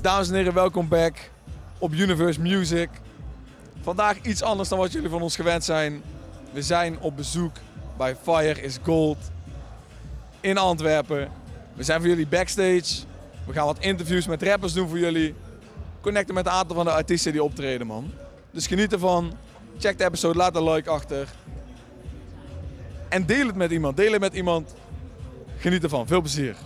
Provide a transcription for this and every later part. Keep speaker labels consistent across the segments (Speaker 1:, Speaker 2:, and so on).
Speaker 1: Dames en heren, welkom back op Universe Music. Vandaag iets anders dan wat jullie van ons gewend zijn. We zijn op bezoek bij Fire is Gold in Antwerpen. We zijn voor jullie backstage. We gaan wat interviews met rappers doen voor jullie. Connecten met een aantal van de artiesten die optreden, man. Dus geniet ervan. Check de episode, laat een like achter. En deel het met iemand. Deel het met iemand. Geniet ervan. Veel plezier.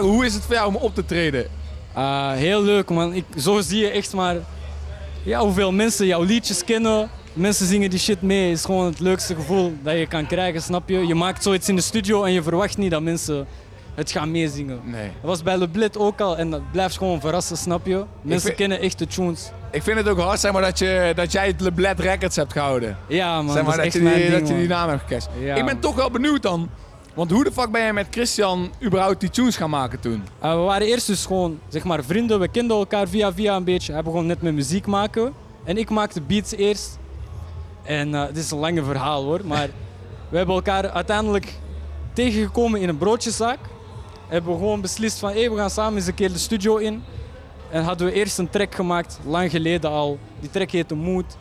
Speaker 1: Hoe is het voor jou om op te treden?
Speaker 2: Eh, heel leuk man. Ik, zo zie je echt maar ja, hoeveel mensen jouw liedjes kennen. Mensen zingen die shit mee. Is gewoon het leukste gevoel dat je kan krijgen, snap je? Je maakt zoiets in de studio en je verwacht niet dat mensen het gaan meezingen.
Speaker 1: Nee.
Speaker 2: Dat was bij Leblit ook al en dat blijft gewoon verrassen, snap je? Mensen
Speaker 1: vind-
Speaker 2: kennen echt de tunes.
Speaker 1: Ik vind het ook hard zeg maar, dat, je, dat jij het Leblet Records hebt gehouden.
Speaker 2: Ja man,
Speaker 1: zeg
Speaker 2: dat
Speaker 1: maar,
Speaker 2: is
Speaker 1: dat,
Speaker 2: echt
Speaker 1: je
Speaker 2: mijn
Speaker 1: die,
Speaker 2: ding,
Speaker 1: dat je die
Speaker 2: man.
Speaker 1: naam hebt gecast.
Speaker 2: Ja,
Speaker 1: ik ben
Speaker 2: man.
Speaker 1: toch wel benieuwd dan. Want hoe de fuck ben jij met Christian überhaupt die tunes gaan maken toen?
Speaker 2: Eh, we waren eerst dus gewoon zeg maar, vrienden, we kenden elkaar via via een beetje. Hij begon net met muziek maken en ik maakte beats eerst. En eh, het is een lange verhaal hoor, maar we hebben elkaar uiteindelijk tegengekomen in een broodjeszaak. Hebben we gewoon beslist van hey, we gaan samen eens een keer de studio in. En hadden we eerst een track gemaakt, lang geleden al. Die track heette Mood.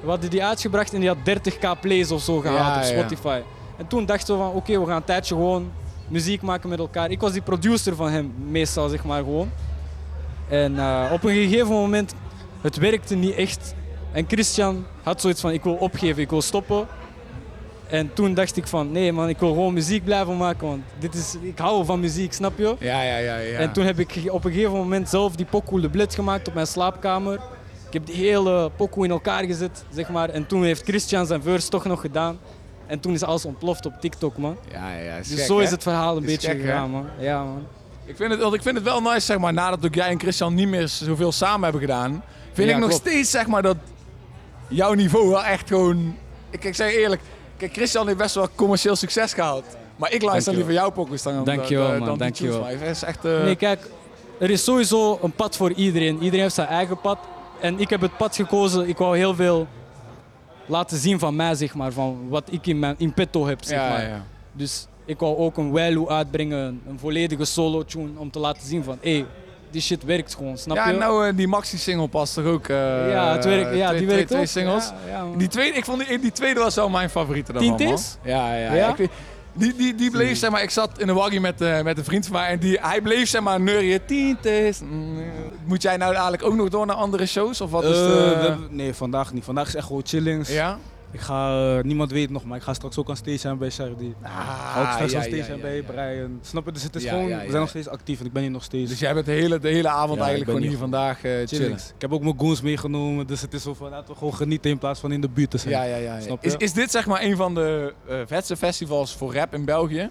Speaker 2: We hadden die uitgebracht en die had 30k plays of zo gehaald
Speaker 1: Ja,
Speaker 2: op
Speaker 1: ja.
Speaker 2: Spotify. En toen dachten we van oké, we gaan een tijdje gewoon muziek maken met elkaar. Ik was die producer van hem, meestal zeg maar gewoon. En eh, op een gegeven moment, het werkte niet echt. En Christian had zoiets van, ik wil opgeven, ik wil stoppen. En toen dacht ik van, nee man, ik wil gewoon muziek blijven maken, want dit is, ik hou van muziek, snap je?
Speaker 1: Ja, ja, ja. ja.
Speaker 2: En toen heb ik ge- op een gegeven moment zelf die pokoe de blit gemaakt op mijn slaapkamer. Ik heb die hele pokoe in elkaar gezet, zeg maar. En toen heeft Christian zijn verse toch nog gedaan. En toen is alles ontploft op TikTok, man.
Speaker 1: ja, ja, is
Speaker 2: Dus
Speaker 1: gek,
Speaker 2: zo is
Speaker 1: hè?
Speaker 2: het verhaal een
Speaker 1: Is
Speaker 2: beetje
Speaker 1: gek, hè?
Speaker 2: gegaan, man. Ja, man.
Speaker 1: Ik vind, het, want ik vind het wel nice, zeg maar, nadat ook jij en Christian niet meer zoveel samen hebben gedaan, vind
Speaker 2: Ja,
Speaker 1: ik nog
Speaker 2: klopt.
Speaker 1: steeds, zeg maar, dat jouw niveau wel echt gewoon... Ik, ik zeg je eerlijk, kijk, Christian heeft best wel commercieel succes gehaald. Maar ik luister
Speaker 2: Dankjewel.
Speaker 1: liever jouw pokkers dan,
Speaker 2: Dankjewel,
Speaker 1: dan,
Speaker 2: man,
Speaker 1: dan die tunes,
Speaker 2: dankjewel.
Speaker 1: maar Hij is echt... eh,
Speaker 2: Nee, kijk, er is sowieso een pad voor iedereen. Iedereen heeft zijn eigen pad. En ik heb het pad gekozen. Ik wou heel veel laten zien van mij, zeg maar. Van wat ik in, mijn, in petto heb, zeg
Speaker 1: ja,
Speaker 2: maar.
Speaker 1: ja.
Speaker 2: Dus ik wou ook een Wailu uitbrengen. een- Een volledige solo-tune. Om te laten zien van, hé, hey, die shit werkt gewoon, snap
Speaker 1: Ja,
Speaker 2: je?
Speaker 1: nou, eh, die Maxi-single past toch ook? eh,
Speaker 2: ja, het werkt,
Speaker 1: twee-
Speaker 2: ja die
Speaker 1: twee-
Speaker 2: werkt
Speaker 1: twee
Speaker 2: ook.
Speaker 1: singles.
Speaker 2: Ja, ja, man.
Speaker 1: Die tweede, ik vond die, die tweede was wel mijn favoriete daarvan,
Speaker 2: Tien
Speaker 1: man.
Speaker 2: T's?
Speaker 1: Ja, ja.
Speaker 2: Ja?
Speaker 1: ik weet- die, die, die bleef, zeg maar, ik zat in een waggie met, eh, met een vriend van mij en die, hij bleef, zeg maar, neurien. Tientes. eh. Moet jij nou dadelijk ook nog door naar andere shows? Of wat is
Speaker 3: Eh,
Speaker 1: de...
Speaker 3: we hebben- nee, vandaag niet. Vandaag is echt gewoon chillings.
Speaker 1: Ja?
Speaker 3: Ik ga, eh, niemand weet nog, maar ik ga straks ook aan stage zijn bij Sardi.
Speaker 1: Ah,
Speaker 3: ik ga ook straks
Speaker 1: ja,
Speaker 3: aan stage
Speaker 1: ja,
Speaker 3: zijn
Speaker 1: ja,
Speaker 3: bij
Speaker 1: ja.
Speaker 3: Brian. Snap je? Dus het is
Speaker 1: Ja,
Speaker 3: gewoon,
Speaker 1: ja,
Speaker 3: we
Speaker 1: ja,
Speaker 3: zijn nog
Speaker 1: ja.
Speaker 3: steeds actief en ik ben hier nog steeds.
Speaker 1: Dus jij bent de hele, de hele avond
Speaker 3: Ja, ik
Speaker 1: eigenlijk
Speaker 3: ben
Speaker 1: gewoon hier
Speaker 3: hier
Speaker 1: vandaag eh, chillen.
Speaker 3: chillings. Ik heb ook mijn goons meegenomen, dus het is zo van laten we gewoon genieten in plaats van in de buurt te zijn.
Speaker 1: Ja, ja, ja. ja.
Speaker 3: Snap je?
Speaker 1: Is, is dit, zeg maar, een van de eh, vetste festivals voor rap in België?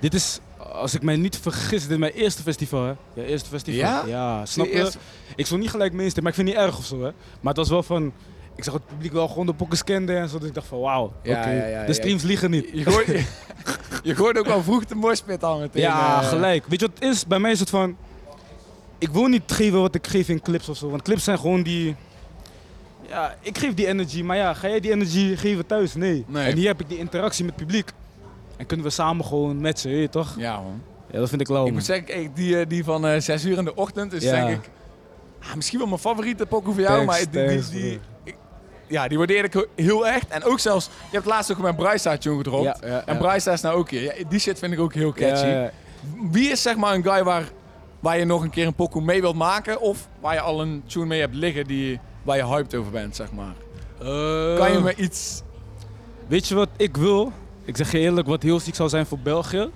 Speaker 3: Dit is, als ik mij niet vergis, dit is mijn eerste festival hè? Ja, eerste festival.
Speaker 1: Ja?
Speaker 3: snap je?
Speaker 1: Die eerste-
Speaker 3: Ik stond niet gelijk mainstream, maar ik vind het niet erg of zo hè. Maar het was wel van, ik zag het publiek wel gewoon de pokkers kende en zo, dus ik dacht van wauw,
Speaker 1: Ja,
Speaker 3: oké,
Speaker 1: ja, ja, ja.
Speaker 3: de streams liegen niet.
Speaker 1: Je gooit, je, gooit ook wel vroeg de morspit aan meteen.
Speaker 3: Ja,
Speaker 1: eh.
Speaker 3: gelijk. Weet je wat het is? Bij mij is het van. Ik wil niet geven wat ik geef in clips of zo. Want clips zijn gewoon die. Ja, ik geef die energy, maar ja, ga jij die energy geven thuis? Nee.
Speaker 1: Nee.
Speaker 3: En hier heb ik die interactie met het publiek. En kunnen we samen gewoon matchen, weet je toch?
Speaker 1: Ja, man.
Speaker 3: Ja, dat vind ik lauw.
Speaker 1: Ik moet
Speaker 3: man.
Speaker 1: zeggen, ik- die, eh, die van eh 6 uur in de ochtend is
Speaker 3: Ja.
Speaker 1: denk ik ah, misschien wel mijn favoriete pokoe voor jou,
Speaker 3: Thanks,
Speaker 1: maar die,
Speaker 3: thanks,
Speaker 1: die, die, ik- ja, die waardeer ik heel echt. En ook zelfs, je hebt laatst ook mijn Brysa tune gedropt.
Speaker 3: Ja, ja, ja.
Speaker 1: En Brysa is nou ook hier. Ja, die shit vind ik ook heel catchy.
Speaker 3: Ja, ja.
Speaker 1: Wie is zeg maar een guy waar, waar je nog een keer een pokoe mee wilt maken of waar je al een tune mee hebt liggen die, waar je hyped over bent, zeg maar?
Speaker 3: Eh,
Speaker 1: Kan je me iets...
Speaker 3: Weet je wat ik wil? Ik zeg je eerlijk, wat heel ziek zou zijn voor België?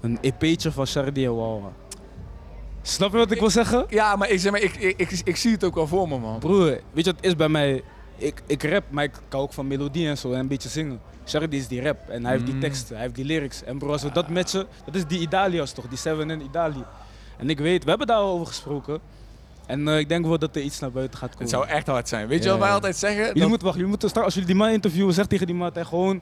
Speaker 3: Een EP'tje van Charlie en Wawa. Snap je wat ik wil zeggen?
Speaker 1: Ja, maar ik, zeg maar, ik, ik, ik, ik zie het ook wel voor me, man.
Speaker 3: Broer, weet je wat het is bij mij? Ik, ik rap, maar ik kan ook van melodie en zo en een beetje zingen. Shardy is die rap en hij heeft die
Speaker 1: Mm.
Speaker 3: teksten, hij heeft die lyrics. En broer, als we dat matchen, dat is die Italia's toch, die Seven in Italië. En ik weet, we hebben daar al over gesproken. En eh, ik denk wel dat er iets naar buiten gaat komen.
Speaker 1: Het zou echt hard zijn. Weet je
Speaker 3: Ja,
Speaker 1: wat wij
Speaker 3: ja.
Speaker 1: altijd zeggen?
Speaker 3: jullie,
Speaker 1: Dat-
Speaker 3: moeten, wacht, jullie moeten straks, als jullie die man interviewen, zeg tegen die man dat hij gewoon,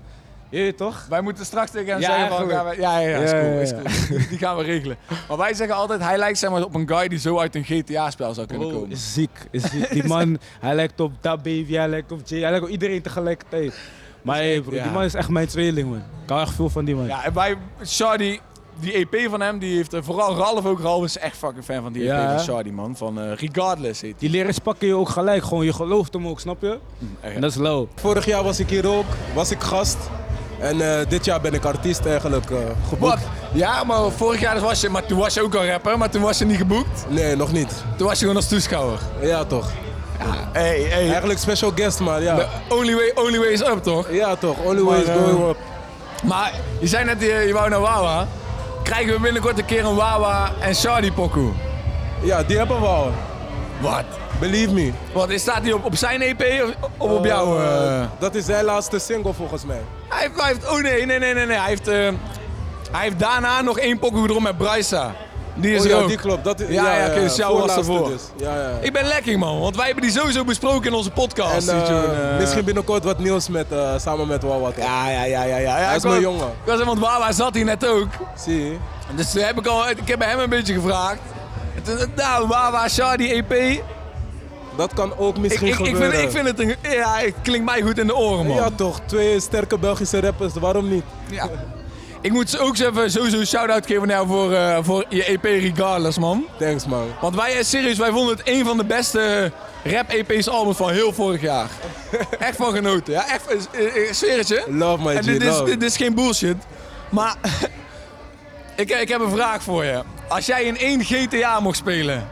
Speaker 3: je weet toch?
Speaker 1: Wij moeten straks tegen hem
Speaker 3: Ja,
Speaker 1: zeggen van...
Speaker 3: eigenlijk.
Speaker 1: gaan we- Ja, ja, ja, is
Speaker 3: Ja,
Speaker 1: cool,
Speaker 3: ja,
Speaker 1: is
Speaker 3: ja.
Speaker 1: cool. Die gaan we regelen. Maar wij zeggen altijd, hij lijkt zeg maar, op een guy die zo uit een GTA-spel zou kunnen
Speaker 3: Bro,
Speaker 1: komen.
Speaker 3: is ziek, is ziek. Die man, hij lijkt op Da Baby, hij lijkt op Jay, hij lijkt op iedereen tegelijkertijd. Maar hey, broer,
Speaker 1: ja.
Speaker 3: die man is echt mijn tweeling man. Ik hou echt veel van die man.
Speaker 1: Ja, en wij... Shardy, die EP van hem, die heeft eh, vooral Ralf ook. Ralf is echt fucking fan van die EP
Speaker 3: Ja,
Speaker 1: van
Speaker 3: hè?
Speaker 1: Shardy, man. Van eh, Regardless heet
Speaker 3: Die leraars pakken je ook gelijk, gewoon je gelooft hem ook, snap je?
Speaker 1: die. Echt, hè?
Speaker 3: En dat is low.
Speaker 4: Vorig jaar was ik hier ook, was ik gast. En eh, dit jaar ben ik artiest eigenlijk eh geboekt.
Speaker 1: Wat? Ja, maar vorig jaar dus was je, maar toen was je ook al rapper, maar toen was je niet geboekt.
Speaker 4: Nee, nog niet.
Speaker 1: Toen was je gewoon als toeschouwer.
Speaker 4: Ja, toch.
Speaker 1: Hey, hey.
Speaker 4: Eigenlijk special guest, man. Ja,
Speaker 1: The only way, only way is up, toch?
Speaker 4: ja toch. Only way is
Speaker 1: Maar, eh,
Speaker 4: going up.
Speaker 1: Maar je zei net, je, je wou naar Wawa. Krijgen we binnenkort een keer een Wawa en Shardy pokoe?
Speaker 4: Ja, die hebben we al.
Speaker 1: Wat?
Speaker 4: Believe me.
Speaker 1: Wat, is- staat die op, op zijn EP of, of op
Speaker 4: Eh,
Speaker 1: jou? eh?
Speaker 4: Dat is zijn laatste single volgens mij.
Speaker 1: Hij heeft, hij heeft- oh nee, nee, nee, nee, nee. Hij heeft, eh, hij heeft daarna nog één pokoe erom met Brysa. Die is
Speaker 4: Oh
Speaker 1: er
Speaker 4: ja,
Speaker 1: ook.
Speaker 4: die klopt. Dat, ja,
Speaker 1: ja, oké, dus jou was
Speaker 4: voorlaatste
Speaker 1: ervoor.
Speaker 4: Ja, ja. ja.
Speaker 1: Ik ben lekker man, want wij hebben die sowieso besproken in onze
Speaker 4: en
Speaker 1: podcast.
Speaker 4: eh,
Speaker 1: Die toen, eh,
Speaker 4: misschien binnenkort wat nieuws met, eh, samen met Wawa. toch?
Speaker 1: Ja, ja, ja, ja, ja. ja
Speaker 4: Hij
Speaker 1: ik
Speaker 4: is mijn
Speaker 1: wou-
Speaker 4: jongen.
Speaker 1: Ik was want Wawa zat hier net ook.
Speaker 4: Zie je?
Speaker 1: Dus toen heb ik al, ik heb bij hem een beetje gevraagd. En toen, Nou, Wawa, Shadi, EP.
Speaker 4: Dat kan ook
Speaker 1: Ik,
Speaker 4: misschien
Speaker 1: ik, ik,
Speaker 4: gebeuren.
Speaker 1: vind, ik vind het een. Ja, het klinkt mij goed in de oren, man.
Speaker 4: Ja toch, twee sterke Belgische rappers, waarom niet?
Speaker 1: Ja. Ik moet ze ook eens even sowieso een shout-out geven naar jou voor, eh, voor je EP Regardless, man.
Speaker 4: Thanks man.
Speaker 1: Want wij, eh, serieus, wij vonden het een van de beste rap-EP's albums van heel vorig jaar. echt van genoten. Ja, echt, eh, eh, eh, zweer het je.
Speaker 4: Love my
Speaker 1: En
Speaker 4: G,
Speaker 1: dit is,
Speaker 4: love.
Speaker 1: dit is geen bullshit. Maar ik, ik heb een vraag voor je. Als jij in één GTA mocht spelen,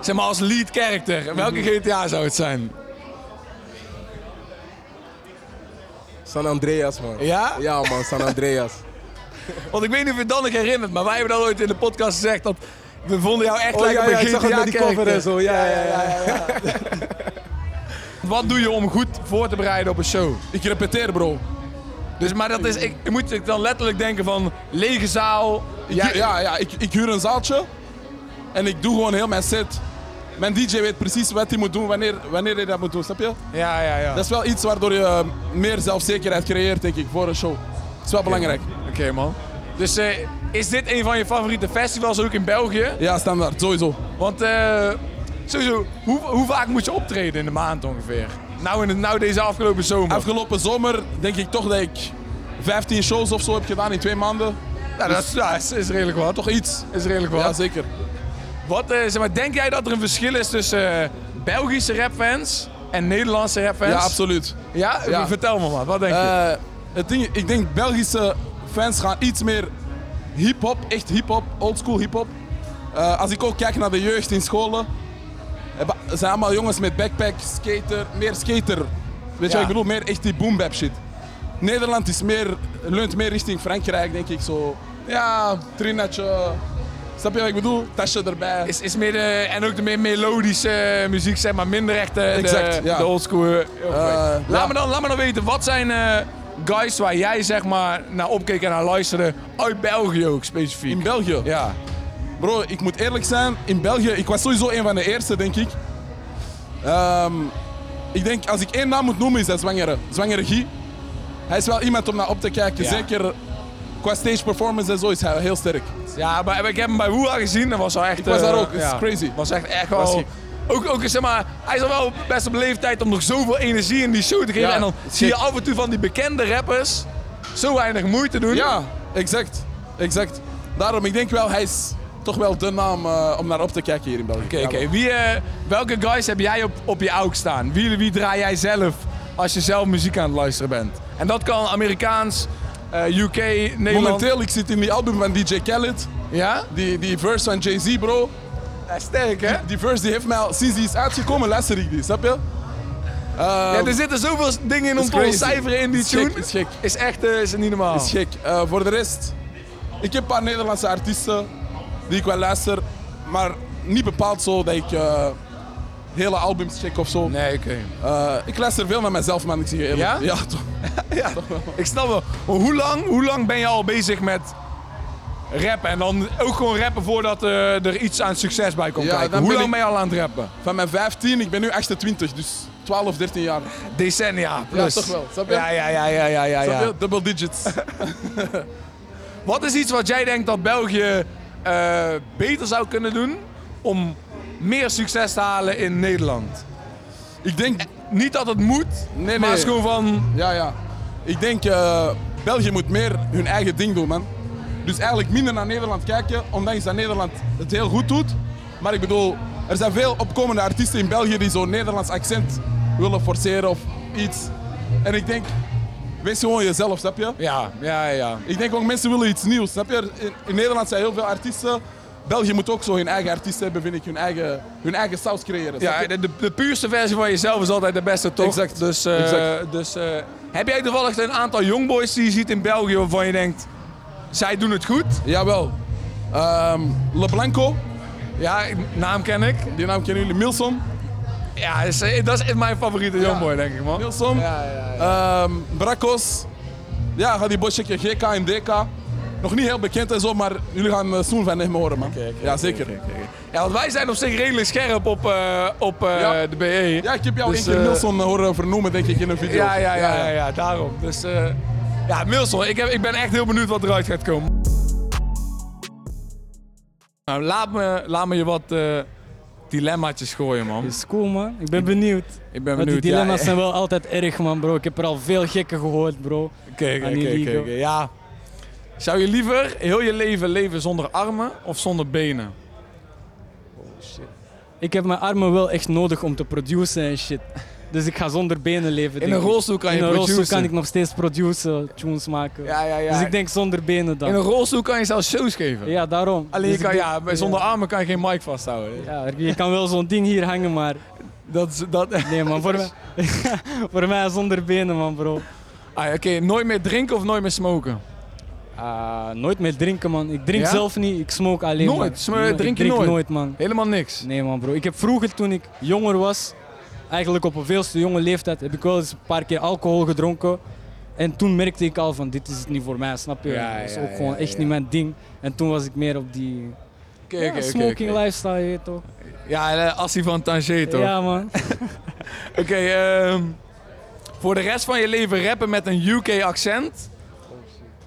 Speaker 1: zeg maar als lead character,
Speaker 4: Mhm.
Speaker 1: welke GTA zou het zijn?
Speaker 4: San Andreas man.
Speaker 1: Ja?
Speaker 4: Ja man, San Andreas.
Speaker 5: Oh,
Speaker 1: Want ik weet niet of je het dan nog herinnert, maar wij hebben dat ooit in de podcast gezegd. Dat we vonden jou echt
Speaker 4: oh
Speaker 1: lijken
Speaker 4: ja, ja, ik zag
Speaker 1: op een
Speaker 4: het
Speaker 1: GTA
Speaker 4: met die cover en zo. Ja, ja, ja.
Speaker 1: Wat doe je om goed voor te bereiden op een show?
Speaker 5: Ik repeteer, bro.
Speaker 1: Dus, maar dat is, ik, ik moet ik dan letterlijk denken van lege zaal.
Speaker 5: Ik,
Speaker 1: jij-
Speaker 5: ja, ja, ik, ik huur een zaaltje en ik doe gewoon heel mijn set. Mijn DJ weet precies wat hij moet doen, wanneer, wanneer hij dat moet doen, snap je?
Speaker 1: ja, ja. ja.
Speaker 5: Dat is wel iets waardoor je eh, meer zelfzekerheid creëert, denk ik, voor een show. Dat is wel belangrijk.
Speaker 1: Oké, man. Dus eh, is dit een van je favoriete festivals ook in België?
Speaker 5: Ja, standaard, sowieso.
Speaker 1: Want eh, sowieso, hoe, hoe vaak moet je optreden in de maand ongeveer? Nou, in het, nou deze afgelopen zomer.
Speaker 5: Afgelopen zomer denk ik toch dat ik 15 shows of zo heb gedaan in twee maanden.
Speaker 1: Ja, dat is, ja, is, is redelijk wat.
Speaker 5: Toch iets.
Speaker 1: Is redelijk wat.
Speaker 5: Ja, zeker.
Speaker 1: Wat, eh, zeg maar, denk jij dat er een verschil is tussen eh, Belgische rapfans en Nederlandse rapfans?
Speaker 5: Ja, absoluut.
Speaker 1: Ja?
Speaker 5: Ja.
Speaker 1: Vertel me maar, wat denk je?
Speaker 5: Eh, het ding, ik denk Belgische fans gaan iets meer hip-hop, echt hip-hop, oldschool hip-hop. Eh, als ik ook kijk naar de jeugd in scholen, hebben- zijn allemaal jongens met backpack, skater, meer skater. Weet je
Speaker 1: Ja.
Speaker 5: wat ik bedoel? Meer echt die boom-bap shit. Nederland is meer, leunt meer richting Frankrijk, denk ik. Zo, ja, trinatje. Snap je wat ik bedoel? Tasje erbij.
Speaker 1: Is, is meer de, en ook de meer melodische eh, muziek, zeg maar, minder echt eh, de,
Speaker 5: Exact,
Speaker 1: de,
Speaker 5: ja.
Speaker 1: de oldschool. eh,
Speaker 5: ja.
Speaker 1: laat, me dan, laat me dan weten, wat zijn eh, guys waar jij zeg maar naar opkeek en naar luisterde uit België ook specifiek?
Speaker 5: In België.
Speaker 1: ja.
Speaker 5: Bro, ik moet eerlijk zijn, in België, ik was sowieso een van de eerste, denk ik. Ehm, ik denk, als ik één naam moet noemen, is dat Zwangere. Zwangere Guy. Hij is wel iemand om naar op te kijken.
Speaker 1: Ja.
Speaker 5: Zeker qua stage performance en zo is hij heel sterk.
Speaker 1: Ja, maar ik heb hem bij Woeha gezien. Dat was wel echt... Ik
Speaker 5: was daar ook, het is crazy.
Speaker 1: was echt echt
Speaker 5: Was
Speaker 1: wel...
Speaker 5: ziek.
Speaker 1: Ook, ook zeg maar, hij is al wel best op leeftijd om nog zoveel energie in die show te geven.
Speaker 5: Ja,
Speaker 1: en dan
Speaker 5: het is
Speaker 1: zie je
Speaker 5: gek.
Speaker 1: af en toe van die bekende rappers zo weinig moeite doen.
Speaker 5: Ja, exact. exact. Daarom, ik denk wel, hij is toch wel de naam eh, om naar op te kijken hier in België.
Speaker 1: Oké, oké. Wie, eh, welke guys heb jij op, op je auk staan? Wie, wie draai jij zelf als je zelf muziek aan het luisteren bent? En dat kan Amerikaans, eh, UK, Nederland.
Speaker 5: Momenteel, ik zit in die album van DJ Khaled.
Speaker 1: Ja?
Speaker 5: Die, die verse van Jay-Z, bro.
Speaker 1: sterk, hè?
Speaker 5: Die verse die heeft mij al, sinds die is uitgekomen, luister ik die, snap je?
Speaker 1: Ja, er zitten zoveel dingen in om
Speaker 5: is
Speaker 1: te
Speaker 5: crazy.
Speaker 1: cijferen in die
Speaker 5: Is gek,
Speaker 1: tune.
Speaker 5: is gek.
Speaker 1: Is echt eh, is niet normaal.
Speaker 5: is gek. Eh, voor de rest, ik heb een paar Nederlandse artiesten die ik wel luister, maar niet bepaald zo dat ik eh, hele albums check of zo.
Speaker 1: Nee, oké.
Speaker 5: Eh, ik luister veel naar mezelf, man, ik zie je eerlijk.
Speaker 1: Ja?
Speaker 5: Ja, toch.
Speaker 1: Ja, ik snap wel. Maar hoe lang, hoe lang ben je al bezig met rappen? En dan ook gewoon rappen voordat eh, er iets aan succes bij komt
Speaker 5: Ja,
Speaker 1: kijken.
Speaker 5: dan
Speaker 1: Hoe
Speaker 5: ben
Speaker 1: lang
Speaker 5: ik-
Speaker 1: ben je al aan het rappen?
Speaker 5: Van mijn 15, ik ben nu 28, dus 12, 13 jaar.
Speaker 1: Decennia plus.
Speaker 5: Ja, toch wel, snap je?
Speaker 1: Ja, ja, ja, ja, ja, ja.
Speaker 5: Snap
Speaker 1: ja.
Speaker 5: je? Double digits.
Speaker 1: Wat is iets wat jij denkt dat België eh, beter zou kunnen doen om meer succes te halen in Nederland?
Speaker 5: ik denk,
Speaker 1: Niet dat het moet,
Speaker 5: nee.
Speaker 1: maar het is gewoon van...
Speaker 5: ja, ja. Ik denk, eh, België moet meer hun eigen ding doen, man.
Speaker 6: Dus eigenlijk minder naar Nederland kijken, ondanks dat Nederland het heel goed doet. Maar ik bedoel, er zijn veel opkomende artiesten in België die zo'n Nederlands accent willen forceren of iets. En ik denk, wees gewoon jezelf, snap je?
Speaker 5: Ja, ja, ja.
Speaker 6: Ik denk ook mensen willen iets nieuws. Snap je? Er- In, in Nederland zijn heel veel artiesten. België moet ook zo hun eigen artiesten hebben, vind ik. Hun eigen, hun eigen saus creëren. snap
Speaker 1: Ja,
Speaker 6: je?
Speaker 1: de, de, de puurste versie van jezelf is altijd de beste, toch?
Speaker 6: Exact.
Speaker 1: Dus, eh,
Speaker 6: Exact.
Speaker 1: dus eh, heb jij toevallig een aantal jongboys die je ziet in België waarvan je denkt, zij doen het goed?
Speaker 6: Jawel. Ehm LeBlanco,
Speaker 1: Ja, naam ken ik.
Speaker 6: die naam kennen jullie. Milson.
Speaker 1: Ja, is, eh, dat is mijn favoriete jongboy, denk ik, man.
Speaker 6: Milson. Ehm, Brakos. Ja, ga die bosje GK en DK. Nog niet heel bekend en zo, maar jullie gaan eh, Soen van hem horen, man. ja, zeker.
Speaker 1: Ja, want wij zijn op zich redelijk scherp op, eh, op eh,
Speaker 6: Ja.
Speaker 1: de BE.
Speaker 6: Ja, ik heb jou
Speaker 1: Dus,
Speaker 6: één keer
Speaker 1: eh,
Speaker 6: Milson eh, horen vernoemen, denk ik, in een video.
Speaker 1: Ja, ja, ja, ja, ja, daarom. Dus eh, ja, Milson, ik, heb, ik ben echt heel benieuwd wat eruit gaat komen. Nou, laat me, laat me je wat eh dilemmaatjes gooien, man.
Speaker 2: Is cool, man. Ik ben benieuwd.
Speaker 1: Ik ben
Speaker 2: Want die
Speaker 1: benieuwd.
Speaker 2: dilemma's
Speaker 1: ja.
Speaker 2: zijn wel altijd erg, man, bro. Ik heb er al veel gekken gehoord, bro.
Speaker 1: Oké, oké,
Speaker 2: aan die
Speaker 1: oké,
Speaker 2: liegen.
Speaker 1: oké, oké, Ja. Zou je liever heel je leven leven zonder armen of zonder benen?
Speaker 2: Ik heb mijn armen wel echt nodig om te produceren en shit. Dus ik ga zonder benen leven.
Speaker 1: In
Speaker 2: denk
Speaker 1: een
Speaker 2: ik.
Speaker 1: rolstoel kan je
Speaker 2: In een rolstoel
Speaker 1: produceren.
Speaker 2: kan ik nog steeds produceren, tunes maken.
Speaker 1: Ja, ja, ja.
Speaker 2: Dus ik denk zonder benen dan.
Speaker 1: In een rolstoel kan je zelfs shows geven.
Speaker 2: Ja, daarom.
Speaker 1: Alleen je
Speaker 2: Dus ik
Speaker 1: kan,
Speaker 2: denk-
Speaker 1: ja, bij- zonder armen kan je geen mic vasthouden.
Speaker 2: Ja, je kan wel zo'n ding hier hangen, maar
Speaker 1: Dat is, dat...
Speaker 2: nee man, voor, mij, voor mij zonder benen man bro.
Speaker 1: Ah, Oké, nooit meer drinken of nooit meer smoken?
Speaker 2: Ah, nooit meer drinken man, ik drink
Speaker 1: Ja?
Speaker 2: zelf niet, ik smoke alleen
Speaker 1: Nooit?
Speaker 2: maar.
Speaker 1: Smo-
Speaker 2: Nee,
Speaker 1: drink
Speaker 2: ik
Speaker 1: je
Speaker 2: drink
Speaker 1: nooit?
Speaker 2: man.
Speaker 1: Helemaal niks.
Speaker 2: Nee man bro, ik heb vroeger toen ik jonger was, eigenlijk op een veel te jonge leeftijd, heb ik wel eens een paar keer alcohol gedronken. En toen merkte ik al van dit is het niet voor mij, snap je?
Speaker 1: Ja,
Speaker 2: dat is
Speaker 1: ja,
Speaker 2: ook
Speaker 1: ja,
Speaker 2: gewoon echt
Speaker 1: ja.
Speaker 2: niet mijn ding. En toen was ik meer op die
Speaker 1: Oké,
Speaker 2: ja,
Speaker 1: oké, oké,
Speaker 2: smoking
Speaker 1: oké.
Speaker 2: lifestyle, je weet toch?
Speaker 1: Ja, eh, Assie van Tangier toch?
Speaker 2: Ja man.
Speaker 1: Oké, ehm, voor de rest van je leven rappen met een UK-accent?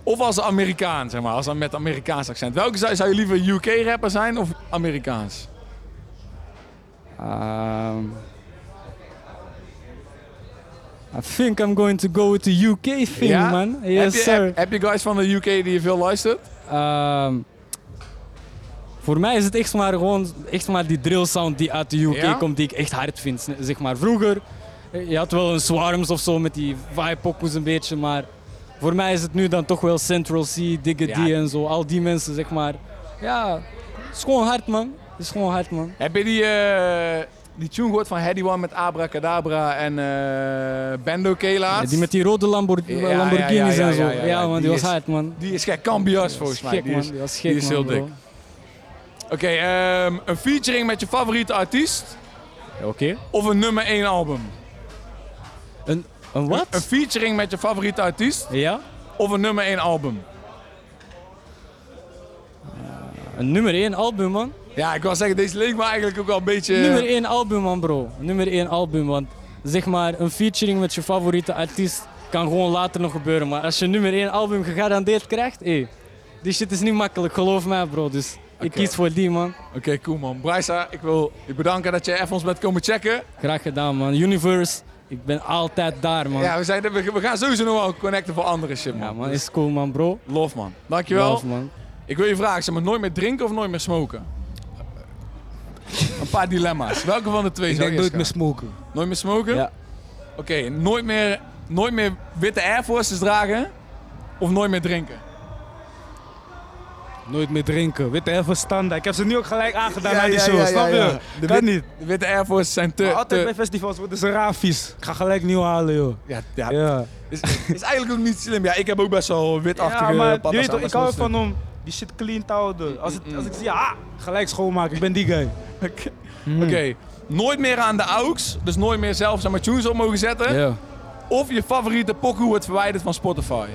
Speaker 1: Of als Amerikaan, zeg maar, als dan met Amerikaans accent. Welke zou, zou je liever UK-rapper zijn of Amerikaans?
Speaker 2: Um, I think I'm going to go with the UK thing,
Speaker 1: Ja?
Speaker 2: man.
Speaker 1: heb,
Speaker 2: Yes,
Speaker 1: je,
Speaker 2: sir.
Speaker 1: heb, heb je guys van de UK die je veel luistert?
Speaker 2: Ehm, voor mij is het echt maar gewoon echt maar die drill sound die uit de UK
Speaker 1: Ja?
Speaker 2: komt, die ik echt hard vind. Sne- Zeg maar vroeger, eh, je had wel een Swarms of zo met die vibe een beetje, maar voor mij is het nu dan toch wel Central C, Diggity
Speaker 1: Ja.
Speaker 2: en zo, al die mensen zeg maar. Ja, het is gewoon hard man. Het is gewoon hard man.
Speaker 1: Heb je die, eh, die tune gehoord van Heady One met Abracadabra en eh Bendo K laatst?
Speaker 2: Ja, die met die rode Lambor-
Speaker 1: Ja, ja, ja,
Speaker 2: Lamborghinis
Speaker 1: ja,
Speaker 2: en zo.
Speaker 1: ja,
Speaker 2: Ja,
Speaker 1: ja, ja,
Speaker 2: man, die,
Speaker 1: die
Speaker 2: was
Speaker 1: is-
Speaker 2: hard, man.
Speaker 1: Die is gek, Cambias volgens mij.
Speaker 2: Gek,
Speaker 1: Die
Speaker 2: man.
Speaker 1: is-
Speaker 2: Die was gek,
Speaker 1: die is heel
Speaker 2: man, bro.
Speaker 1: dik. Oké, ehm, een featuring met je favoriete artiest
Speaker 2: Oké.
Speaker 1: of een nummer 1 album?
Speaker 2: Een, een
Speaker 1: Een
Speaker 2: wat?
Speaker 1: featuring met je favoriete artiest
Speaker 2: Ja?
Speaker 1: of een nummer 1 album?
Speaker 2: Een nummer 1 album, man.
Speaker 1: Ja, ik wou zeggen, deze leek me eigenlijk ook wel een beetje...
Speaker 2: Nummer 1 album, man, bro. Nummer 1 album, want zeg maar, een featuring met je favoriete artiest kan gewoon later nog gebeuren. Maar als je nummer 1 album gegarandeerd krijgt, hé, die shit is niet makkelijk, geloof mij, bro. Dus ik
Speaker 1: Oké.
Speaker 2: kies voor die, man.
Speaker 1: Oké, cool man. Brysa, ik wil je bedanken dat je even ons bent komen checken.
Speaker 2: Graag gedaan, man. Universe, ik ben altijd daar, man.
Speaker 1: Ja, we, zijn, we, we gaan sowieso nog wel connecten voor andere shit, man.
Speaker 2: Ja, man, is cool, man, bro.
Speaker 1: Love, man. Dankjewel.
Speaker 2: Love, man.
Speaker 1: Ik wil je vragen, zeg maar, nooit meer drinken of nooit meer smoken? Een paar dilemma's. Welke van de twee
Speaker 3: Ik
Speaker 1: zou
Speaker 3: denk
Speaker 1: je
Speaker 3: nooit
Speaker 1: eerst
Speaker 3: meer
Speaker 1: gaan?
Speaker 3: smoken.
Speaker 1: Nooit meer smoken?
Speaker 3: Ja.
Speaker 1: Oké, nooit, meer, nooit meer witte Air Forces dragen of nooit meer drinken?
Speaker 3: Nooit meer drinken. Witte even standaard. Ik heb ze nu ook gelijk aangedaan
Speaker 6: Ja,
Speaker 3: aan die
Speaker 6: ja,
Speaker 3: show.
Speaker 6: ja, ja,
Speaker 3: snap je?
Speaker 6: ja.
Speaker 1: De
Speaker 3: kan
Speaker 1: wit-
Speaker 3: niet.
Speaker 1: De witte Air Forces zijn te...
Speaker 3: Maar altijd bij
Speaker 1: te
Speaker 3: festivals worden ze raar vies. Ik ga gelijk nieuw halen, joh.
Speaker 1: ja, ja,
Speaker 3: Ja,
Speaker 1: Is, is eigenlijk ook niet slim. Ja, ik heb ook best wel witachtige
Speaker 3: ja maar je
Speaker 1: patas
Speaker 3: weet
Speaker 1: aan, dus-
Speaker 3: toch,
Speaker 1: dat
Speaker 3: ik
Speaker 1: is Mm,
Speaker 3: hou
Speaker 1: nooit slim.
Speaker 3: ervan om die shit clean te houden. Als, het, als ik zie, ah, gelijk schoonmaken. Ik ben die guy.
Speaker 1: Oké, Oké, nooit meer aan de AUX, dus nooit meer zelf zijn maar tunes op mogen zetten.
Speaker 3: Ja.
Speaker 1: Of je favoriete pokoe wordt verwijderd van Spotify.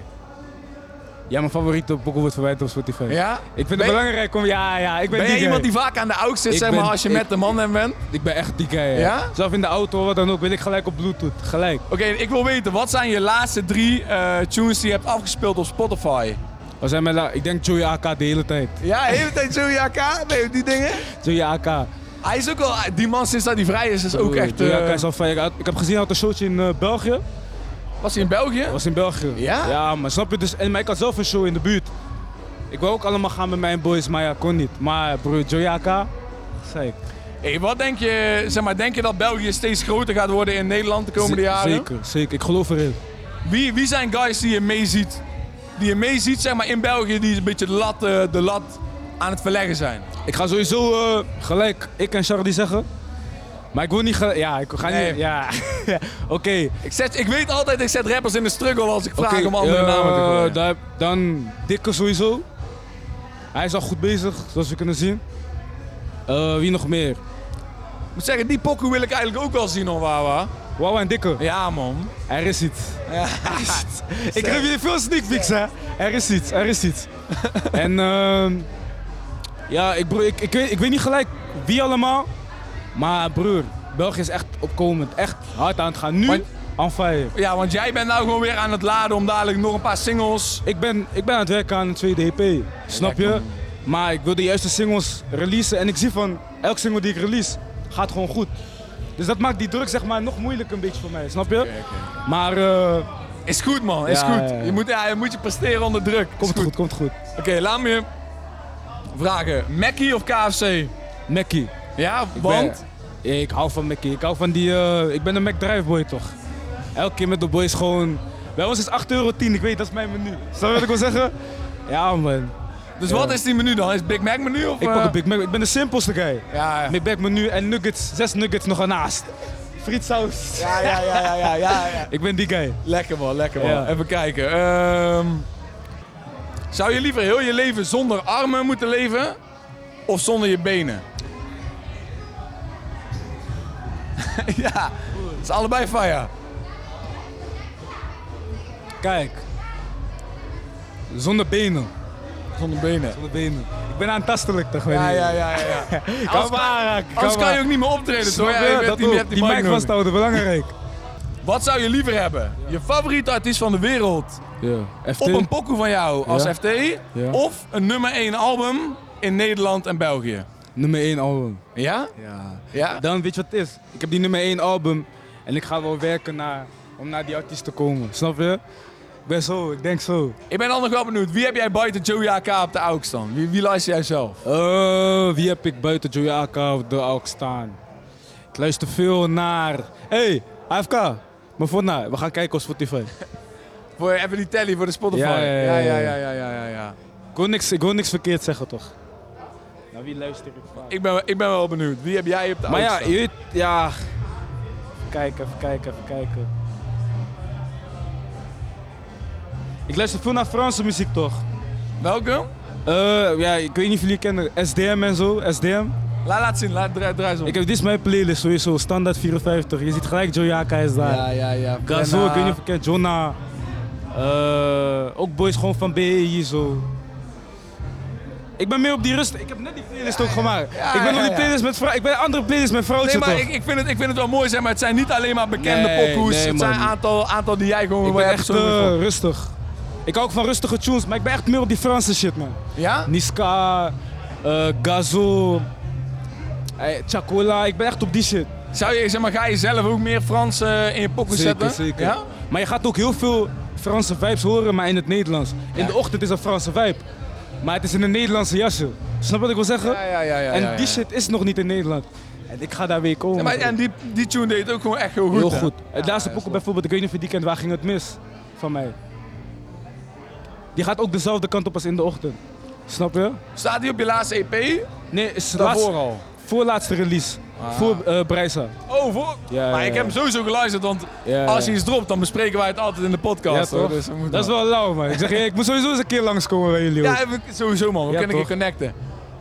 Speaker 3: Ja, mijn favoriete pokoe wordt verwijderd op Spotify.
Speaker 1: Ja?
Speaker 3: Ik vind
Speaker 1: Ben-
Speaker 3: het belangrijk om... Ja, ja, ik
Speaker 1: Ben
Speaker 3: ben, die
Speaker 1: jij
Speaker 3: guy.
Speaker 1: iemand die vaak aan de AUX zit,
Speaker 3: Ik
Speaker 1: zeg maar,
Speaker 3: ben-
Speaker 1: als je
Speaker 3: ik-
Speaker 1: met de man hem bent?
Speaker 3: Ik ben echt die guy, ja.
Speaker 1: Ja?
Speaker 3: Zelf in de auto, wat dan ook, wil ik gelijk op Bluetooth. Gelijk.
Speaker 1: Oké, ik wil weten, wat zijn je laatste drie eh, tunes die je hebt afgespeeld op Spotify?
Speaker 3: We zijn met, la- ik denk Joey AK de hele tijd.
Speaker 1: Ja, heeft hij Joey AK? Nee, die dingen?
Speaker 3: Joey AK.
Speaker 1: Hij is ook wel, die man sinds dat hij vrij is, is ook echt...
Speaker 3: Joey
Speaker 1: eh,
Speaker 3: AK is al fijn. Ik had- Ik heb gezien, hij had een showtje in eh, België.
Speaker 1: was hij in België?
Speaker 3: was in België.
Speaker 1: Ja?
Speaker 3: Ja, maar snap je dus. En, maar ik had zelf een show in de buurt. Ik wou ook allemaal gaan met mijn boys, maar ja, kon niet. Maar broer, Joyaka, zei ik.
Speaker 1: Hey, wat denk je, zeg maar, denk je dat België steeds groter gaat worden in Nederland de komende
Speaker 3: Ze-
Speaker 1: jaren?
Speaker 3: Zeker, zeker. Ik geloof erin.
Speaker 1: Wie, wie zijn guys die je meeziet? Die je meeziet, zeg maar, in België, die een beetje de lat, eh, de lat aan het verleggen zijn.
Speaker 3: Ik ga sowieso eh, gelijk ik en Charlie zeggen. Maar ik wil niet... ge- Ja, ik ga niet...
Speaker 1: Nee.
Speaker 3: Ja, oké.
Speaker 1: Ik, zet, ik weet altijd, ik zet rappers in de struggle als ik vraag
Speaker 3: Oké,
Speaker 1: om andere
Speaker 3: eh,
Speaker 1: namen te gooien.
Speaker 3: daar- Dan Dikke sowieso. Hij is al goed bezig, zoals we kunnen zien. Eh, wie nog meer?
Speaker 1: Ik moet zeggen, die pokoe wil ik eigenlijk ook wel zien, hoor, Wawa.
Speaker 3: Wawa en Dikke.
Speaker 1: Ja, man.
Speaker 3: Er is iets. Er is iets. Ik geef jullie veel sneak peeks, hè. Er is iets, er is iets. en ehm, ja, ik, broer, ik, ik, weet, ik weet niet gelijk wie allemaal. Maar broer, België is echt opkomend. Echt hard aan het gaan. Nu
Speaker 1: Maar-
Speaker 3: on fire.
Speaker 1: Ja, want jij bent nou gewoon weer aan het laden om dadelijk nog een paar singles.
Speaker 3: Ik ben, ik ben aan het werken aan een tweede EP. Snap
Speaker 1: lekker,
Speaker 3: je? Maar ik wil de juiste singles releasen. En ik zie van, elke single die ik release, gaat gewoon goed. Dus dat maakt die druk zeg maar nog moeilijk een beetje voor mij. Snap je? Maar eh,
Speaker 1: Is goed, man. Is
Speaker 3: Ja,
Speaker 1: goed.
Speaker 3: ja, ja.
Speaker 1: Je, moet, ja, je moet je presteren onder druk. Is
Speaker 3: komt goed. goed, komt goed.
Speaker 1: Oké, laat me je vragen. Mackie of KFC?
Speaker 3: Mackie.
Speaker 1: Ja,
Speaker 3: Ik
Speaker 1: want...
Speaker 3: ben- ik hou van Mickey. Ik hou van die... eh, ik ben een McDrive boy toch? Elke keer met de boys gewoon... Bij ons is 8,10 euro. Ik weet, dat is mijn menu. Snap je wat ik wil zeggen? Ja man.
Speaker 1: Dus
Speaker 3: Ja.
Speaker 1: wat is die menu dan? Is het Big Mac menu of...
Speaker 3: eh, Ik
Speaker 1: eh,
Speaker 3: pak een Big Mac. Ik ben de simpelste guy.
Speaker 1: Ja, ja.
Speaker 3: Big Mac menu en nuggets. Zes nuggets nog ernaast. Frietsaus.
Speaker 1: Ja, ja, ja, ja, ja, ja, ja.
Speaker 3: Ik ben die guy.
Speaker 1: Lekker man, lekker man.
Speaker 3: Ja.
Speaker 1: Even kijken. Ehm, zou je liever heel je leven zonder armen moeten leven of zonder je benen? ja, het is allebei fire.
Speaker 3: Kijk. Zonder benen.
Speaker 1: Zonder benen.
Speaker 3: Zonder benen. Ik ben aantastelijk toch?
Speaker 1: Ja, ja, ja, ja. ja.
Speaker 3: Kan maar aanraken, kan
Speaker 1: Anders kan
Speaker 3: maar.
Speaker 1: je ook niet meer optreden, toch?
Speaker 3: Snap
Speaker 1: Ja,
Speaker 3: je?
Speaker 1: je hebt
Speaker 3: Dat
Speaker 1: die,
Speaker 3: ook.
Speaker 1: je hebt
Speaker 3: die
Speaker 1: mic
Speaker 3: mic
Speaker 1: nodig.
Speaker 3: vasthouden, belangrijk.
Speaker 1: Wat zou je liever hebben? Je favoriete artiest van de wereld
Speaker 3: Ja. FT.
Speaker 1: op een pokoe van jou als
Speaker 3: Ja.
Speaker 1: FT
Speaker 3: Ja.
Speaker 1: of een nummer 1 album in Nederland en België?
Speaker 3: Nummer 1 album.
Speaker 1: Ja?
Speaker 3: Ja.
Speaker 1: Ja?
Speaker 3: Dan weet je wat het is. Ik heb die nummer 1 album en ik ga wel werken naar, om naar die artiest te komen. Snap je? Ik ben zo, ik denk zo.
Speaker 1: Ik ben dan nog wel benieuwd. Wie heb jij buiten Joey AK op de AUX dan? Wie, wie luister jij zelf?
Speaker 3: Eh, wie heb ik buiten Joey Aka op de Alk staan? Ik luister veel naar... Hey, AFK. Mavonna, nou, we gaan kijken op Spotify.
Speaker 1: Voor even die telly voor de Spotify.
Speaker 3: Ja, ja, ja,
Speaker 1: ja,
Speaker 3: ja,
Speaker 1: ja, ja, ja, ja, ja.
Speaker 3: Ik wil niks, ik wil niks verkeerd zeggen, toch? Naar wie luister ik vaak?
Speaker 1: Ik ben, ik ben wel benieuwd. Wie heb jij op de
Speaker 3: maar
Speaker 1: AUX
Speaker 3: ja,
Speaker 1: staan?
Speaker 3: je weet... Ja... Even kijken, even kijken, even kijken. Ik luister veel naar Franse muziek, toch?
Speaker 1: Welke?
Speaker 3: Eh, ja, ik weet niet of jullie kennen. SDM en zo, SDM.
Speaker 1: Laat, laat zien, laat, draai, draai zo.
Speaker 3: Ik heb, dit is mijn playlist sowieso, standaard 54. Je ziet gelijk Joyaka is daar.
Speaker 1: Ja, ja, ja.
Speaker 3: Gazo, ik weet niet of ik ken, Jonna. Eh, ook boys gewoon van BEI zo. Ik ben meer op die rust. Ik heb net die playlist ook gemaakt.
Speaker 1: ja,
Speaker 3: ik ben
Speaker 1: ja, ja.
Speaker 3: op die playlist met vrouw. Ik ben een andere playlist met vrouwtje
Speaker 1: Nee, maar
Speaker 3: toch?
Speaker 1: ik, ik, vind het, ik vind het wel mooi, zeg maar. Het zijn niet alleen maar bekende
Speaker 3: Nee,
Speaker 1: poppoes.
Speaker 3: nee,
Speaker 1: het zijn een
Speaker 3: man.
Speaker 1: aantal, aantal die jij gewoon
Speaker 3: Ik
Speaker 1: wel
Speaker 3: ben
Speaker 1: hebt
Speaker 3: echt
Speaker 1: gezongen.
Speaker 3: eh, rustig. Ik hou ook van rustige tunes, maar ik ben echt meer op die Franse shit man.
Speaker 1: Ja?
Speaker 3: Niska, eh, Gazo, eh, Chacola. Ik ben echt op die shit.
Speaker 1: Zou je, zeg maar, ga je zelf ook meer Frans eh, in je pokoe zetten? Ja?
Speaker 3: Maar je gaat ook heel veel Franse vibes horen, maar in het Nederlands. In de ochtend is een Franse vibe. Maar het is in een Nederlandse jasje. Snap je wat ik wil zeggen?
Speaker 1: Ja, ja, ja, ja,
Speaker 3: en
Speaker 1: ja, ja.
Speaker 3: die shit is nog niet in Nederland. En ik ga daar weer komen.
Speaker 1: Ja, maar, en die, die tune deed het ook gewoon echt heel goed.
Speaker 3: heel
Speaker 1: hè?
Speaker 3: goed. Het laatste
Speaker 1: ja,
Speaker 3: boek
Speaker 1: is
Speaker 3: bijvoorbeeld, ik weet niet of je die kent, waar ging het mis van mij? Die gaat ook dezelfde kant op als in de ochtend. Snap je?
Speaker 1: Staat die op je laatste E EP?
Speaker 3: Nee, is het
Speaker 1: Daarvoor
Speaker 3: laatste,
Speaker 1: al. Ah.
Speaker 3: voorlaatste release. Voor eh Breisa.
Speaker 1: Oh, voor...
Speaker 3: Ja,
Speaker 1: maar
Speaker 3: ja,
Speaker 1: ik heb
Speaker 3: ja.
Speaker 1: hem sowieso geluisterd, want
Speaker 3: Ja,
Speaker 1: als
Speaker 3: ja.
Speaker 1: hij iets dropt, dan bespreken wij het altijd in de
Speaker 3: Ja,
Speaker 1: podcast. hoor,
Speaker 3: toch?
Speaker 1: dus we moeten
Speaker 3: dat is wel lauw, man. Ik zeg je, ik moet sowieso eens een keer langskomen bij jullie. hoor.
Speaker 1: Ja, we- sowieso man, we
Speaker 3: Ja,
Speaker 1: kunnen
Speaker 3: toch?
Speaker 1: hier connecten.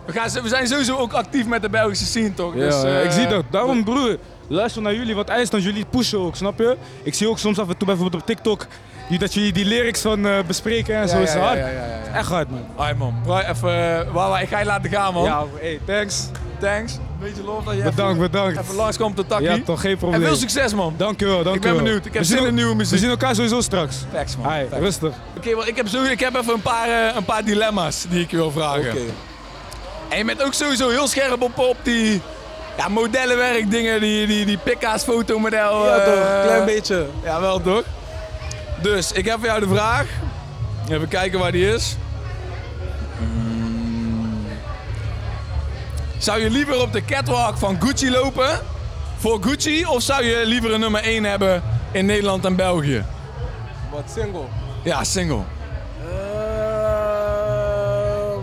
Speaker 1: We, gaan, we zijn sowieso ook actief met de Belgische scene, toch?
Speaker 3: Ja,
Speaker 1: Dus, eh,
Speaker 3: ik zie dat. Daarom, broer, luister naar jullie, want IJsland, jullie pushen ook, snap je? Ik zie ook soms af en toe bijvoorbeeld op TikTok die, dat jullie die lyrics van eh, bespreken en
Speaker 1: Ja,
Speaker 3: zo.
Speaker 1: ja,
Speaker 3: is
Speaker 1: ja,
Speaker 3: hard.
Speaker 1: ja, ja, ja, ja.
Speaker 3: Echt hard, man.
Speaker 1: Alright, man, Bro, even... eh, Wawa, ik ga je laten gaan man.
Speaker 3: Ja, hey, thanks.
Speaker 1: Thanks. Beetje lof dat je
Speaker 3: Bedankt,
Speaker 1: even,
Speaker 3: bedankt.
Speaker 1: even langskomt op de takkie.
Speaker 3: Ja, toch, geen
Speaker 1: En
Speaker 3: probleem.
Speaker 1: veel succes man.
Speaker 3: Dankjewel, dankjewel.
Speaker 1: ben benieuwd. Ik heb
Speaker 3: We zien
Speaker 1: zin in
Speaker 3: el-
Speaker 1: nieuwe muziek.
Speaker 3: We zien elkaar sowieso straks.
Speaker 1: Facts, man.
Speaker 3: Hai,
Speaker 1: Facts.
Speaker 3: rustig.
Speaker 1: Oké, wel, ik heb, sowieso, ik heb even een paar, eh, een paar dilemma's die ik je wil vragen.
Speaker 5: Oké.
Speaker 1: En je bent ook sowieso heel scherp op, op die ja, modellenwerk dingen, die, die, die pikka's fotomodel.
Speaker 5: Ja,
Speaker 1: eh,
Speaker 5: toch? Klein beetje.
Speaker 1: Ja, wel toch? Dus, ik heb voor jou de vraag. Even kijken waar die is. Hmm. Zou je liever op de catwalk van Gucci lopen voor Gucci? Of zou je liever een nummer 1 hebben in Nederland en België?
Speaker 5: Wat single?
Speaker 1: Ja, single.
Speaker 5: Ehm,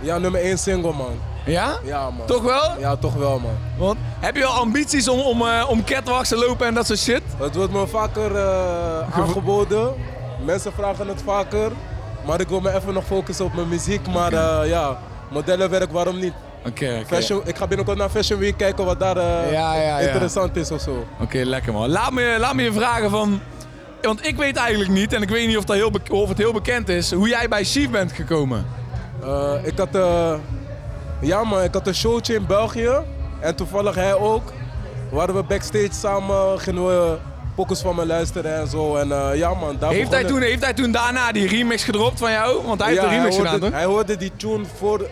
Speaker 5: ja, nummer 1 single, man.
Speaker 1: Ja?
Speaker 5: Ja, man.
Speaker 1: Toch wel?
Speaker 5: Ja, toch wel, man.
Speaker 1: Want heb je al ambities om, om, eh, om catwalks te lopen en dat soort shit?
Speaker 5: Het wordt me vaker eh, aangeboden. Mensen vragen het vaker. Maar ik wil me even nog focussen op mijn muziek. Maar eh, ja, modellenwerk, waarom niet?
Speaker 1: Oké, oké.
Speaker 5: Fashion, ik ga binnenkort naar Fashion Week kijken wat daar eh,
Speaker 1: Ja, ja, ja.
Speaker 5: interessant is of zo.
Speaker 1: Oké, lekker man. Laat me, laat me je vragen van... Want ik weet eigenlijk niet, en ik weet niet of, dat heel bek- of het heel bekend is, hoe jij bij Chief bent gekomen.
Speaker 5: Eh, ik had, eh, ja man, ik had een showtje in België. En toevallig hij ook. Waren we backstage samen, gingen we pokus van me luisteren en zo. En eh, ja man, daar
Speaker 1: Heeft
Speaker 5: begon
Speaker 1: hij,
Speaker 5: het.
Speaker 1: toen, heeft hij toen daarna die remix gedropt van jou? Want hij heeft
Speaker 5: Ja,
Speaker 1: de remix
Speaker 5: hij
Speaker 1: gedaan,
Speaker 5: hoorde,
Speaker 1: toch?
Speaker 5: Hij hoorde die tune voor,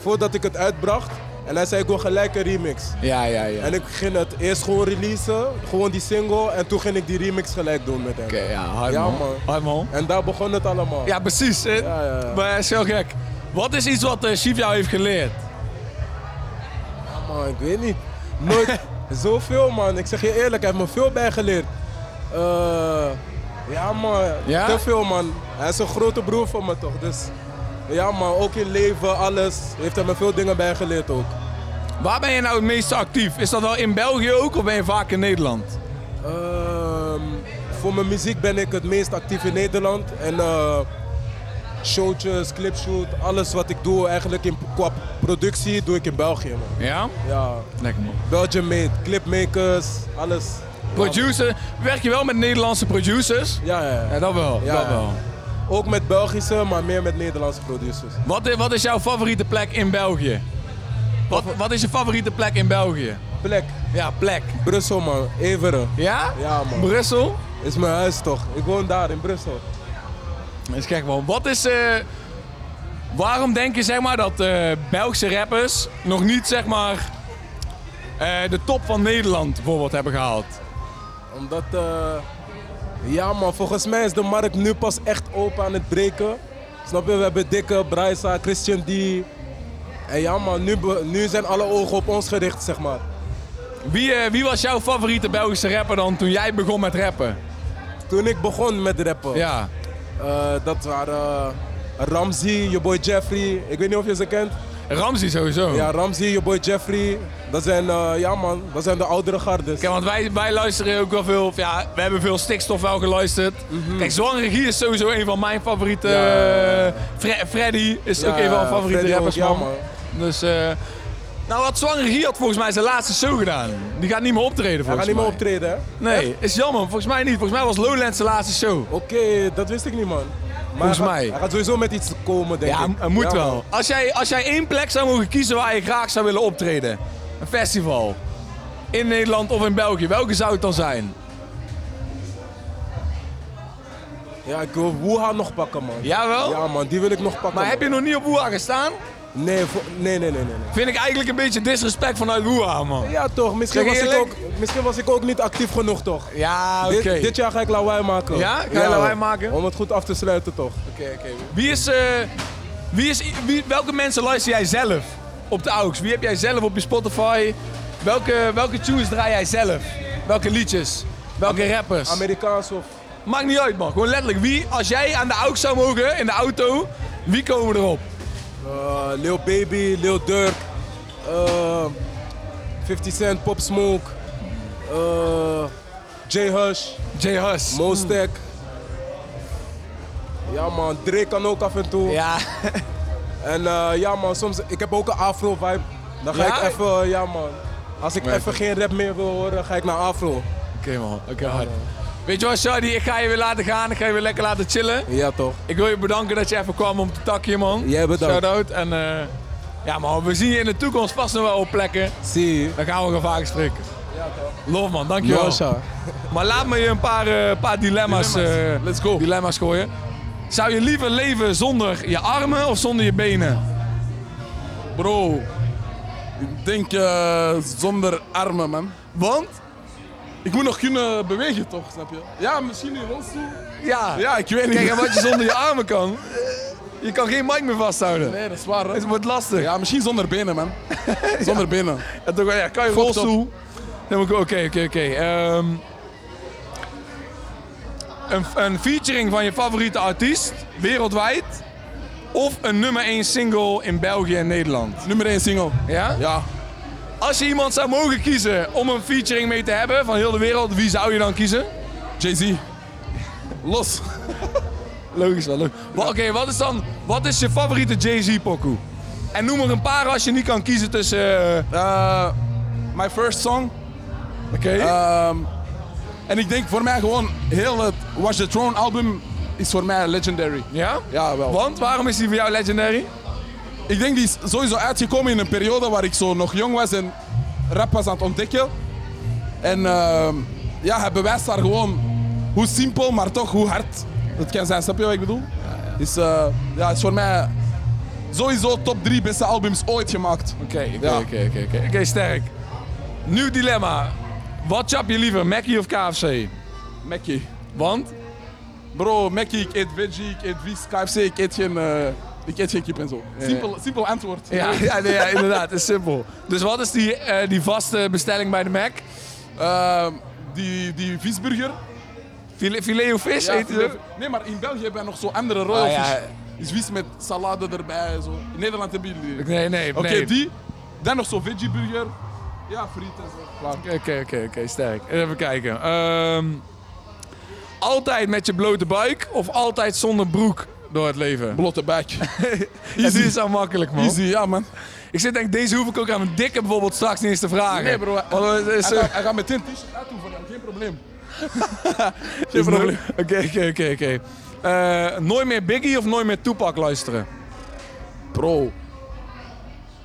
Speaker 5: voordat ik het uitbracht. En hij zei, ik wil gelijk een remix.
Speaker 1: Ja, ja, ja.
Speaker 5: En ik ging het eerst gewoon releasen, gewoon die single. En toen ging ik die remix gelijk doen met hem.
Speaker 1: ja, hard
Speaker 5: Ja,
Speaker 1: man.
Speaker 5: man.
Speaker 1: Hard man.
Speaker 5: En daar begon het allemaal.
Speaker 1: Ja, precies. hè.
Speaker 5: Ja, ja, ja.
Speaker 1: Maar het is heel gek. Wat is iets wat eh, Chief jou heeft geleerd?
Speaker 5: Man, Oh, ik weet niet. Nooit zoveel, man. Ik zeg je eerlijk, hij heeft me veel bijgeleerd. Eh, ja, man.
Speaker 1: Ja?
Speaker 5: Te veel, man. Hij is een grote broer van me, toch? Dus ja, man. Ook in leven, alles. Heeft hij me veel dingen bijgeleerd ook.
Speaker 1: Waar ben je nou het meest actief? Is dat wel in België ook of ben je vaak in Nederland?
Speaker 5: Ehm, voor mijn muziek ben ik het meest actief in Nederland. En eh, showtjes, clipshoot, alles wat ik doe eigenlijk in, qua productie doe ik in België. Man.
Speaker 1: Ja?
Speaker 5: Ja,
Speaker 1: Lekker man.
Speaker 5: Belgium made, clipmakers, alles.
Speaker 1: Producer, werk je wel met Nederlandse producers?
Speaker 5: Ja, ja, ja.
Speaker 1: Ja, dat wel.
Speaker 5: Ja,
Speaker 1: dat
Speaker 5: ja.
Speaker 1: wel.
Speaker 5: Ook met Belgische, maar meer met Nederlandse producers.
Speaker 1: Wat, i- wat is jouw favoriete plek in België? Wat, wat is je favoriete plek in België?
Speaker 5: Plek,
Speaker 1: Ja, plek.
Speaker 5: Brussel man, Everen.
Speaker 1: Ja?
Speaker 5: Ja man,
Speaker 1: Brussel?
Speaker 5: is mijn huis toch. Ik woon daar in Brussel.
Speaker 1: Dat is gek man. Wat is... eh, waarom denk je zeg maar dat eh, Belgische rappers nog niet zeg maar eh, de top van Nederland bijvoorbeeld hebben gehaald?
Speaker 5: Omdat, eh, ja man, volgens mij is de markt nu pas echt open aan het breken. Snap je, we hebben Dikke, Braisa, Christian D. En ja man, nu, be- nu zijn alle ogen op ons gericht, zeg maar.
Speaker 1: Wie, eh, wie was jouw favoriete Belgische rapper dan toen jij begon met rappen?
Speaker 5: Toen ik begon met rappen,
Speaker 1: Ja.
Speaker 5: eh, dat waren Ramsey, je boy Jeffrey. Ik weet niet of je ze kent.
Speaker 1: Ramsey sowieso.
Speaker 5: Ja, Ramsey, je boy Jeffrey. Dat zijn, eh, ja man, dat zijn de oudere gardes.
Speaker 1: Kijk, want wij, wij luisteren ook wel veel. of Ja, we hebben veel stikstof wel geluisterd. Kijk, Zwanregie is sowieso een van mijn favoriete.
Speaker 5: Mhm. Ja.
Speaker 1: eh, Fre- Freddy is
Speaker 5: Ja,
Speaker 1: ook een van mijn favoriete
Speaker 5: Freddy
Speaker 1: rappers,
Speaker 5: ook, ja,
Speaker 1: man.
Speaker 5: man.
Speaker 1: Dus. eh nou, wat Zwanregie had volgens mij zijn laatste show gedaan. Die gaat niet meer optreden
Speaker 5: Hij
Speaker 1: volgens
Speaker 5: gaat niet
Speaker 1: mij.
Speaker 5: meer optreden, hè?
Speaker 1: Nee, is jammer. Volgens mij niet. Volgens mij was Lowlands zijn laatste show.
Speaker 5: Oké, dat wist ik niet, man. Maar
Speaker 1: Volgens
Speaker 5: hij gaat-
Speaker 1: mij.
Speaker 5: Hij gaat sowieso met iets komen, denk
Speaker 1: Ja,
Speaker 5: ik.
Speaker 1: het moet
Speaker 5: Ja, man.
Speaker 1: wel. Als jij, als jij één plek zou mogen kiezen waar je graag zou willen optreden. Een festival. In Nederland of in België. Welke zou het dan zijn?
Speaker 5: Ja, ik wil Wuha nog pakken, man.
Speaker 1: Jawel?
Speaker 5: Ja, man, die wil ik nog pakken.
Speaker 1: Maar heb je
Speaker 5: man.
Speaker 1: nog niet op Woeha gestaan?
Speaker 5: Nee, vo- nee, nee, nee, nee. nee.
Speaker 1: Vind ik eigenlijk een beetje disrespect vanuit Woeha, man.
Speaker 5: Ja, toch. Misschien
Speaker 1: Zeg
Speaker 5: was, ik
Speaker 1: eerlijk?
Speaker 5: ook, misschien was ik ook niet actief genoeg, toch?
Speaker 1: Ja, oké.
Speaker 5: Dit, dit jaar ga ik lawaai maken.
Speaker 1: Ja? Ga je lawaai maken?
Speaker 5: Om het goed af te sluiten, toch?
Speaker 1: Wie is... eh, wie is wie, welke mensen luister jij zelf op de AUX? Wie heb jij zelf op je Spotify? Welke, welke tunes draai jij zelf? Welke liedjes? Welke rappers?
Speaker 5: Amerikaans of...
Speaker 1: Maakt niet uit, man. Gewoon letterlijk. Wie, als jij aan de AUX zou mogen, in de auto, wie komen erop?
Speaker 5: eh Lil Baby, Lil Durk. eh, 50 Cent, Pop Smoke. eh J Hush.
Speaker 1: J. Hus.
Speaker 5: Mostek. Ja man, Drake kan ook af en toe.
Speaker 1: Ja.
Speaker 5: En eh, ja man, soms, ik heb ook een afro vibe. Dan ga
Speaker 1: Ja?
Speaker 5: ik even, eh, ja man. Als ik
Speaker 1: Nee.
Speaker 5: even geen rap meer wil horen, ga ik naar afro.
Speaker 1: Oké, man. Oké, hard. Weet je wat, Shadi? Ik ga je weer laten gaan. Ik ga je weer lekker laten chillen.
Speaker 5: Ja toch.
Speaker 1: Ik wil je bedanken dat je even kwam om te takken, man.
Speaker 5: Jij bedankt.
Speaker 1: Shout-out. En eh, ja, man, we zien je in de toekomst vast nog wel op plekken.
Speaker 5: Zie je.
Speaker 1: Dan gaan we gewoon vaker spreken. Love, man. Dankjewel.
Speaker 5: Nosha.
Speaker 1: Maar laat me je een paar, eh, paar dilemma's, dilemma's.
Speaker 5: Let's go.
Speaker 1: dilemma's gooien. Zou je liever leven zonder je armen of zonder je benen?
Speaker 6: Bro, ik denk eh, zonder armen, man.
Speaker 1: Want?
Speaker 6: Ik moet nog kunnen bewegen, toch? Snap je? Ja, misschien in rolstoel.
Speaker 1: Ja.
Speaker 6: Ja, ik weet niet.
Speaker 1: Kijk, en wat je zonder je armen kan. Je kan geen mic meer vasthouden.
Speaker 6: Nee, dat is waar.
Speaker 1: Het wordt lastig.
Speaker 6: Ja, misschien zonder benen, man. Zonder benen.
Speaker 1: En toch, ja, kan je
Speaker 6: Fucked
Speaker 1: rolstoel? Dan moet ik- Oké, oké, oké. Ehm, een, een featuring van je favoriete artiest, wereldwijd. Of een nummer 1 single in België en Nederland.
Speaker 6: Nummer 1 single.
Speaker 1: Ja?
Speaker 6: Ja.
Speaker 1: Als je iemand zou mogen kiezen om een featuring mee te hebben van heel de wereld, wie zou je dan kiezen?
Speaker 6: Jay-Z. Los.
Speaker 1: Logisch wel, Oké, wat is dan, wat is je favoriete Jay-Z pokoe? En noem er een paar als je niet kan kiezen tussen... eh,
Speaker 6: Eh, my first song.
Speaker 1: Oké.
Speaker 6: Ehm, en ik denk voor mij gewoon heel het Watch the Throne album is voor mij legendary.
Speaker 1: ja?
Speaker 6: Ja, wel.
Speaker 1: Want, waarom is die voor jou legendary?
Speaker 6: Ik denk die is sowieso uitgekomen in een periode waar ik zo nog jong was en rap was aan het ontdekken. En ehm, ja, hij bewijst daar gewoon hoe simpel, maar toch hoe hard het kan zijn. Snap je wat ik bedoel? Dus eh, ja, het is voor mij sowieso top 3 beste albums ooit gemaakt.
Speaker 1: Oké, oké,
Speaker 6: Ja.
Speaker 1: oké, oké, oké. Oké, sterk. Nieuw dilemma. Wat chap je liever, Mackie of KFC?
Speaker 6: Mackie.
Speaker 1: Want?
Speaker 6: Bro, Mackie, ik eet veggie, ik eet vis, KFC, ik eet geen, eh, ik eet geen kip en zo. Simpel, simpel antwoord.
Speaker 1: Ja, ja, nee, ja inderdaad, is simpel. Dus wat is die, eh, die vaste bestelling bij de Mac?
Speaker 6: Ehm, die, die visburger.
Speaker 1: Filet, filet of vis?
Speaker 6: Ja,
Speaker 1: eet je?
Speaker 6: filet- Nee, maar in België hebben we nog zo andere royal
Speaker 1: Ah, ja.
Speaker 6: fish. Is vis met salade erbij en zo. In Nederland hebben jullie die. Oké,
Speaker 1: Nee, nee, nee.
Speaker 6: die. Dan nog zo'n veggie burger. Ja, friet en zo. Klaar.
Speaker 1: Oké, oké, oké, oké, sterk. Even kijken. Ehm, altijd met je blote buik of altijd zonder broek door het leven?
Speaker 6: Blote buik.
Speaker 1: Easy is al makkelijk, man.
Speaker 6: Easy, ja man.
Speaker 1: Ik zit denk, deze hoef ik ook aan een dikke bijvoorbeeld straks niet eens te vragen.
Speaker 6: Nee bro,
Speaker 1: Want het is,
Speaker 6: hij, gaat- hij gaat meteen t-shirt uitdoen voor jou, geen probleem.
Speaker 1: Geen probleem. Oké, oké, oké, oké. Eh, Nooit meer Biggie of nooit meer Tupac luisteren?
Speaker 6: Bro.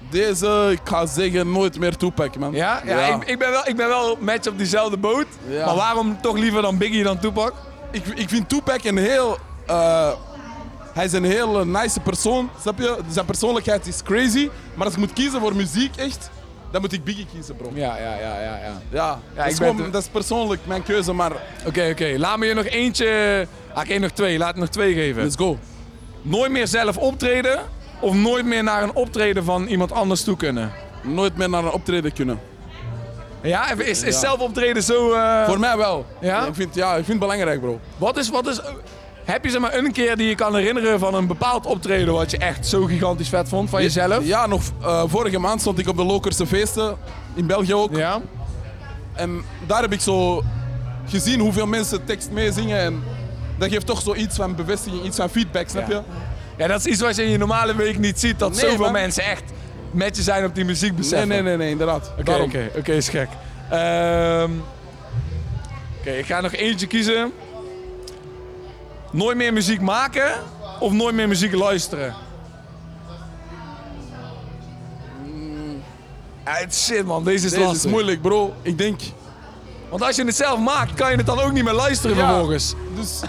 Speaker 6: Deze, ik ga zeggen, nooit meer toepak man.
Speaker 1: Ja? Ja, Ik, ik, ben wel, ik ben wel match op diezelfde boot.
Speaker 6: Ja.
Speaker 1: Maar waarom toch liever dan Biggie dan Tupac?
Speaker 6: ik, ik vind Tupac een heel. eh, hij is een heel eh, nice persoon, snap je? Zijn persoonlijkheid is crazy. Maar als ik moet kiezen voor muziek, echt, dan moet ik Biggie kiezen, bro.
Speaker 1: Ja, ja, ja, ja. ja.
Speaker 6: Ja, dat,
Speaker 1: ik
Speaker 6: is
Speaker 1: ben
Speaker 6: gewoon,
Speaker 1: te-
Speaker 6: dat is persoonlijk mijn keuze, maar
Speaker 1: Oké, oké. Laat me je nog eentje... Ah, ik heb nog twee. Laat ik nog twee geven.
Speaker 6: let's go.
Speaker 1: Nooit meer zelf optreden of nooit meer naar een optreden van iemand anders toe kunnen?
Speaker 6: Nooit meer naar een optreden kunnen.
Speaker 1: Ja, is, is zelf optreden zo... eh,
Speaker 6: Voor mij wel.
Speaker 1: Ja?
Speaker 6: Ik vind, ja, ik vind het belangrijk, bro.
Speaker 1: Wat is, wat is, heb je zeg maar een keer die je kan herinneren van een bepaald optreden wat je echt zo gigantisch vet vond van jezelf?
Speaker 6: Ja, nog eh, vorige maand stond ik op de Lokerse feesten, in België ook.
Speaker 1: Ja.
Speaker 6: En daar heb ik zo gezien hoeveel mensen tekst meezingen. En dat geeft toch zoiets van bevestiging, iets van feedback, snap je?
Speaker 1: Ja, dat is iets wat je in je normale week niet ziet, dat
Speaker 6: Nee,
Speaker 1: zoveel
Speaker 6: man.
Speaker 1: mensen echt met je zijn op die muziek
Speaker 6: Nee,
Speaker 1: beseffen.
Speaker 6: nee, nee, nee, inderdaad.
Speaker 1: Oké,
Speaker 6: Daarom.
Speaker 1: oké, oké, is gek. Ehm, oké, ik ga nog eentje kiezen. Nooit meer muziek maken of nooit meer muziek luisteren? Ja, Ah, het- shit man, Mm. deze is
Speaker 6: Deze is
Speaker 1: lastig.
Speaker 6: moeilijk, bro. Ik denk.
Speaker 1: Want als je het zelf maakt, kan je het dan ook niet meer luisteren
Speaker 6: Ja.
Speaker 1: vervolgens.
Speaker 6: Dus.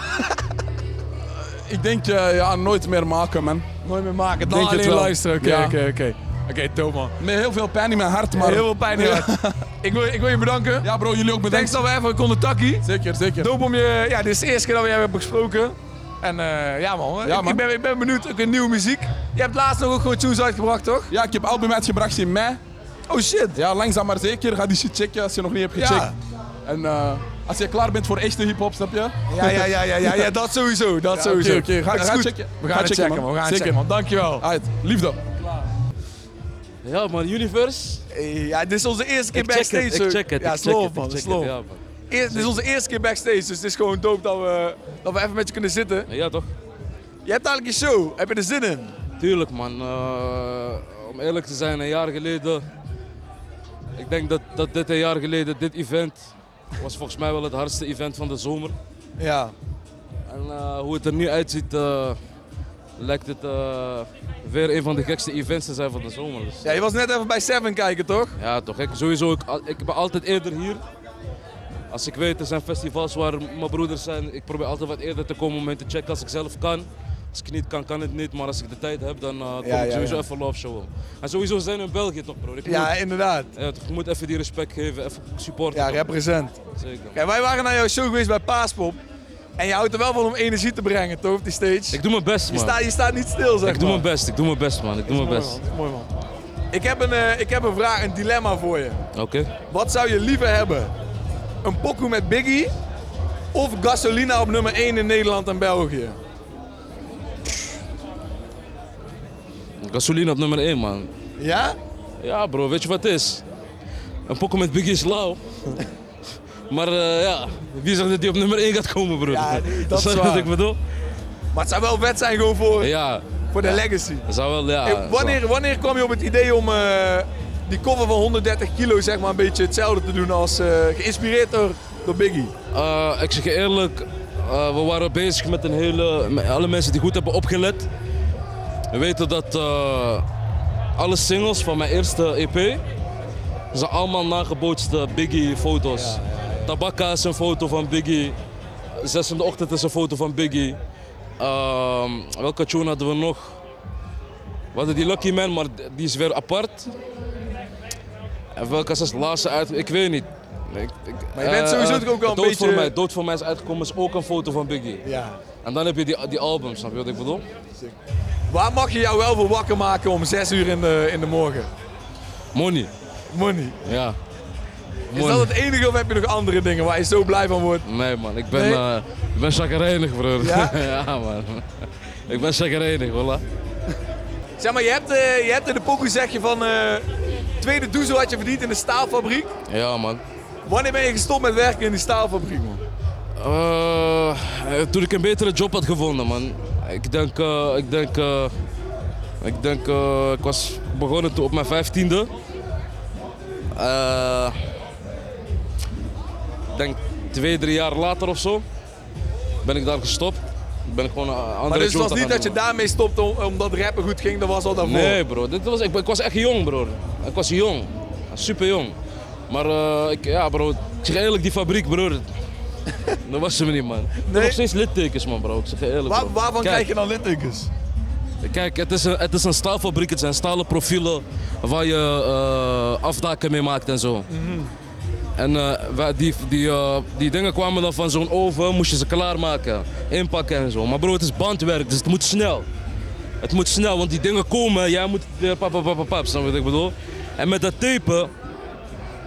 Speaker 6: ik denk, eh, ja, nooit meer maken, man.
Speaker 1: Nooit meer maken, dan
Speaker 6: Denk het
Speaker 1: alleen
Speaker 6: wel.
Speaker 1: luisteren. Oké,
Speaker 6: Ja.
Speaker 1: oké, oké. Oké, Thomas.
Speaker 6: Met heel veel pijn in mijn hart, maar.
Speaker 1: Heel veel pijn in je hart. ik, wil, ik wil je bedanken.
Speaker 6: Ja, bro, jullie ook
Speaker 1: Thanks
Speaker 6: bedankt.
Speaker 1: dat we even konden takkie.
Speaker 6: Zeker, zeker.
Speaker 1: Doop om je... Ja, dit is de eerste keer dat we jou hebben gesproken. En eh, ja man,
Speaker 6: Ja,
Speaker 1: ik- Ik,
Speaker 6: man.
Speaker 1: ben, ik ben benieuwd, ook in nieuwe muziek. Je hebt laatst nog ook gewoon tunes uitgebracht, toch?
Speaker 6: Ja, ik heb album uitgebracht in mei.
Speaker 1: Oh shit.
Speaker 6: Ja, langzaam maar zeker. Ga die shit checken als je nog niet hebt
Speaker 1: Ja.
Speaker 6: gecheckt. En eh, als je klaar bent voor echte hip-hop, snap je?
Speaker 1: Ja, ja, ja, ja, ja, ja dat sowieso, dat
Speaker 6: oké,
Speaker 1: sowieso.
Speaker 6: oké. Ga-
Speaker 1: Het is
Speaker 6: ga
Speaker 1: goed.
Speaker 6: checken.
Speaker 1: We
Speaker 6: Ga
Speaker 1: gaan het
Speaker 6: checken,
Speaker 1: checken
Speaker 6: man.
Speaker 1: man, we gaan het
Speaker 6: Zeker.
Speaker 1: checken man. Dankjewel.
Speaker 6: Alright, liefde.
Speaker 7: Ja man, Universe.
Speaker 1: Ja, dit is onze eerste keer
Speaker 7: Ik check
Speaker 1: backstage.
Speaker 7: het, ik
Speaker 1: hoor.
Speaker 7: check het.
Speaker 1: Ja,
Speaker 7: ik check
Speaker 1: slow
Speaker 7: het,
Speaker 1: man,
Speaker 7: ik check
Speaker 1: slow.
Speaker 7: het, ja, man.
Speaker 1: Eerst- dit is onze eerste keer backstage, dus het is gewoon dope dat we, dat we even met je kunnen zitten.
Speaker 7: Ja toch?
Speaker 1: Je hebt eigenlijk een show, heb je er zin in?
Speaker 7: Tuurlijk man. Eh, om eerlijk te zijn, een jaar geleden. Ik denk dat, dat dit een jaar geleden, dit event, was volgens mij wel het hardste event van de zomer.
Speaker 1: Ja.
Speaker 7: En eh, hoe het er nu uitziet, eh, lijkt het eh, weer een van de gekste events te zijn van de zomer. Dus,
Speaker 1: ja, je was net even bij Seven kijken toch?
Speaker 7: ja toch, ik, sowieso, ik, al- ik ben altijd eerder hier. Als ik weet, er zijn festivals waar mijn broeders zijn, ik probeer altijd wat eerder te komen om hen te checken als ik zelf kan. Als ik niet kan, kan het niet, maar als ik de tijd heb, dan eh, kom
Speaker 1: Ja,
Speaker 7: ik
Speaker 1: ja,
Speaker 7: sowieso
Speaker 1: ja.
Speaker 7: even love showen. En sowieso zijn we in België toch bro, ik moet,
Speaker 1: Ja, inderdaad.
Speaker 7: ja, toch, Eh, ik moet even die respect geven, even supporten.
Speaker 1: Ja,
Speaker 7: toch?
Speaker 1: represent.
Speaker 7: Zeker.
Speaker 1: Kijk, wij waren naar jouw show geweest bij Paaspop. En je houdt er wel van om energie te brengen, toch, op die stage?
Speaker 7: Ik doe mijn best,
Speaker 1: je,
Speaker 7: man.
Speaker 1: staat- je staat niet stil, zeg
Speaker 7: ik doe
Speaker 1: maar.
Speaker 7: mijn best, ik doe mijn best, man. Ik doe mijn
Speaker 1: Mooi,
Speaker 7: best.
Speaker 1: man. Mooi, man. Ik heb, een, eh, ik heb een vraag, een dilemma voor je.
Speaker 7: Oké.
Speaker 1: Wat zou je liever hebben? Een pokoe met Biggie of Gasolina op nummer 1 in Nederland en België?
Speaker 7: Gasoline op nummer 1, man.
Speaker 1: Ja?
Speaker 7: Ja, bro, weet je wat het is? Een pokken met Biggie is lauw. maar eh, ja, wie zegt dat die op nummer 1 gaat komen, bro?
Speaker 1: Ja, dat is
Speaker 7: Snap je
Speaker 1: waar.
Speaker 7: wat ik bedoel?
Speaker 1: Maar het zou wel vet zijn gewoon voor,
Speaker 7: Ja,
Speaker 1: voor de legacy.
Speaker 7: dat zou wel, ja.
Speaker 1: Hey, wanneer, wanneer kwam je op het idee om eh, die cover van 130 kilo zeg maar, een beetje hetzelfde te doen als eh, geïnspireerd door, door Biggie?
Speaker 7: Eh, ik zeg je eerlijk, eh, we waren bezig met een hele. Met alle mensen die goed hebben opgelet. We weten dat eh, alle singles van mijn eerste EP. zijn allemaal nagebootste Biggie-foto's. Tabakka is een foto van Biggie. Zes in de ochtend is een foto van Biggie. Ehm, welke tune hadden we nog? We hadden die Lucky Man, maar die is weer apart. En welke is als laatste uit? Ik weet niet. Ik- ik-
Speaker 1: Maar je bent
Speaker 7: eh,
Speaker 1: sowieso
Speaker 7: eh,
Speaker 1: toch ook wel een
Speaker 7: Dood
Speaker 1: beetje-
Speaker 7: Voor mij. Dood voor mij is uitgekomen, is ook een foto van Biggie.
Speaker 1: Ja.
Speaker 7: En dan heb je die, die album, snap je wat ik bedoel?
Speaker 1: Waar mag je jou wel voor wakker maken om 6 uur in de, in de morgen?
Speaker 7: Money,
Speaker 1: Money.
Speaker 7: ja.
Speaker 1: Is dat het enige of heb je nog andere dingen waar je zo blij van wordt?
Speaker 7: Nee man, ik ben,
Speaker 1: Nee?
Speaker 7: eh, ik ben chagrijnig broer.
Speaker 1: Ja?
Speaker 7: man. Ik ben chagrijnig, voilà.
Speaker 1: Zeg maar, je hebt, eh, je hebt in de pokoe zeg je van... eh, tweede doezel had je verdiend in de staalfabriek.
Speaker 7: Ja man.
Speaker 1: Wanneer ben je gestopt met werken in die staalfabriek, man?
Speaker 7: Eh, toen ik een betere job had gevonden man. Ik denk, eh, ik denk, eh, ik denk, eh, ik was begonnen toen op mijn vijftiende. Eh, ik denk twee, drie jaar later of zo ben ik daar gestopt. Ben ik gewoon een andere
Speaker 1: Maar dus het
Speaker 7: job
Speaker 1: was
Speaker 7: gaan
Speaker 1: niet dat je
Speaker 7: doen.
Speaker 1: daarmee stopte om- omdat rappen goed ging, dat was al daarvoor.
Speaker 7: Nee, bro. Dit was, ik, ik was echt jong, bro. Ik was jong. Super jong. Maar eh, ik, ja, bro. Ik zeg eerlijk, die fabriek, bro. Dat was ze me niet, man. Ik heb
Speaker 1: Nee?
Speaker 7: Nog steeds littekens, man, bro. Ik zeg je eerlijk,
Speaker 1: Waar-
Speaker 7: bro.
Speaker 1: waarvan
Speaker 7: Kijk,
Speaker 1: krijg je dan littekens?
Speaker 7: Kijk, het is, een, het is een staalfabriek. Het zijn stalen profielen waar je eh, afdaken mee maakt en zo. En eh, wij- die, die, eh, die dingen kwamen dan van zo'n oven, moest je ze klaarmaken, inpakken en zo. Maar bro, het is bandwerk, dus het moet snel. Het moet snel, want die dingen komen, jij moet eh, pap, pap, pap, pap, pap, snap je wat ik bedoel? En met dat tapen,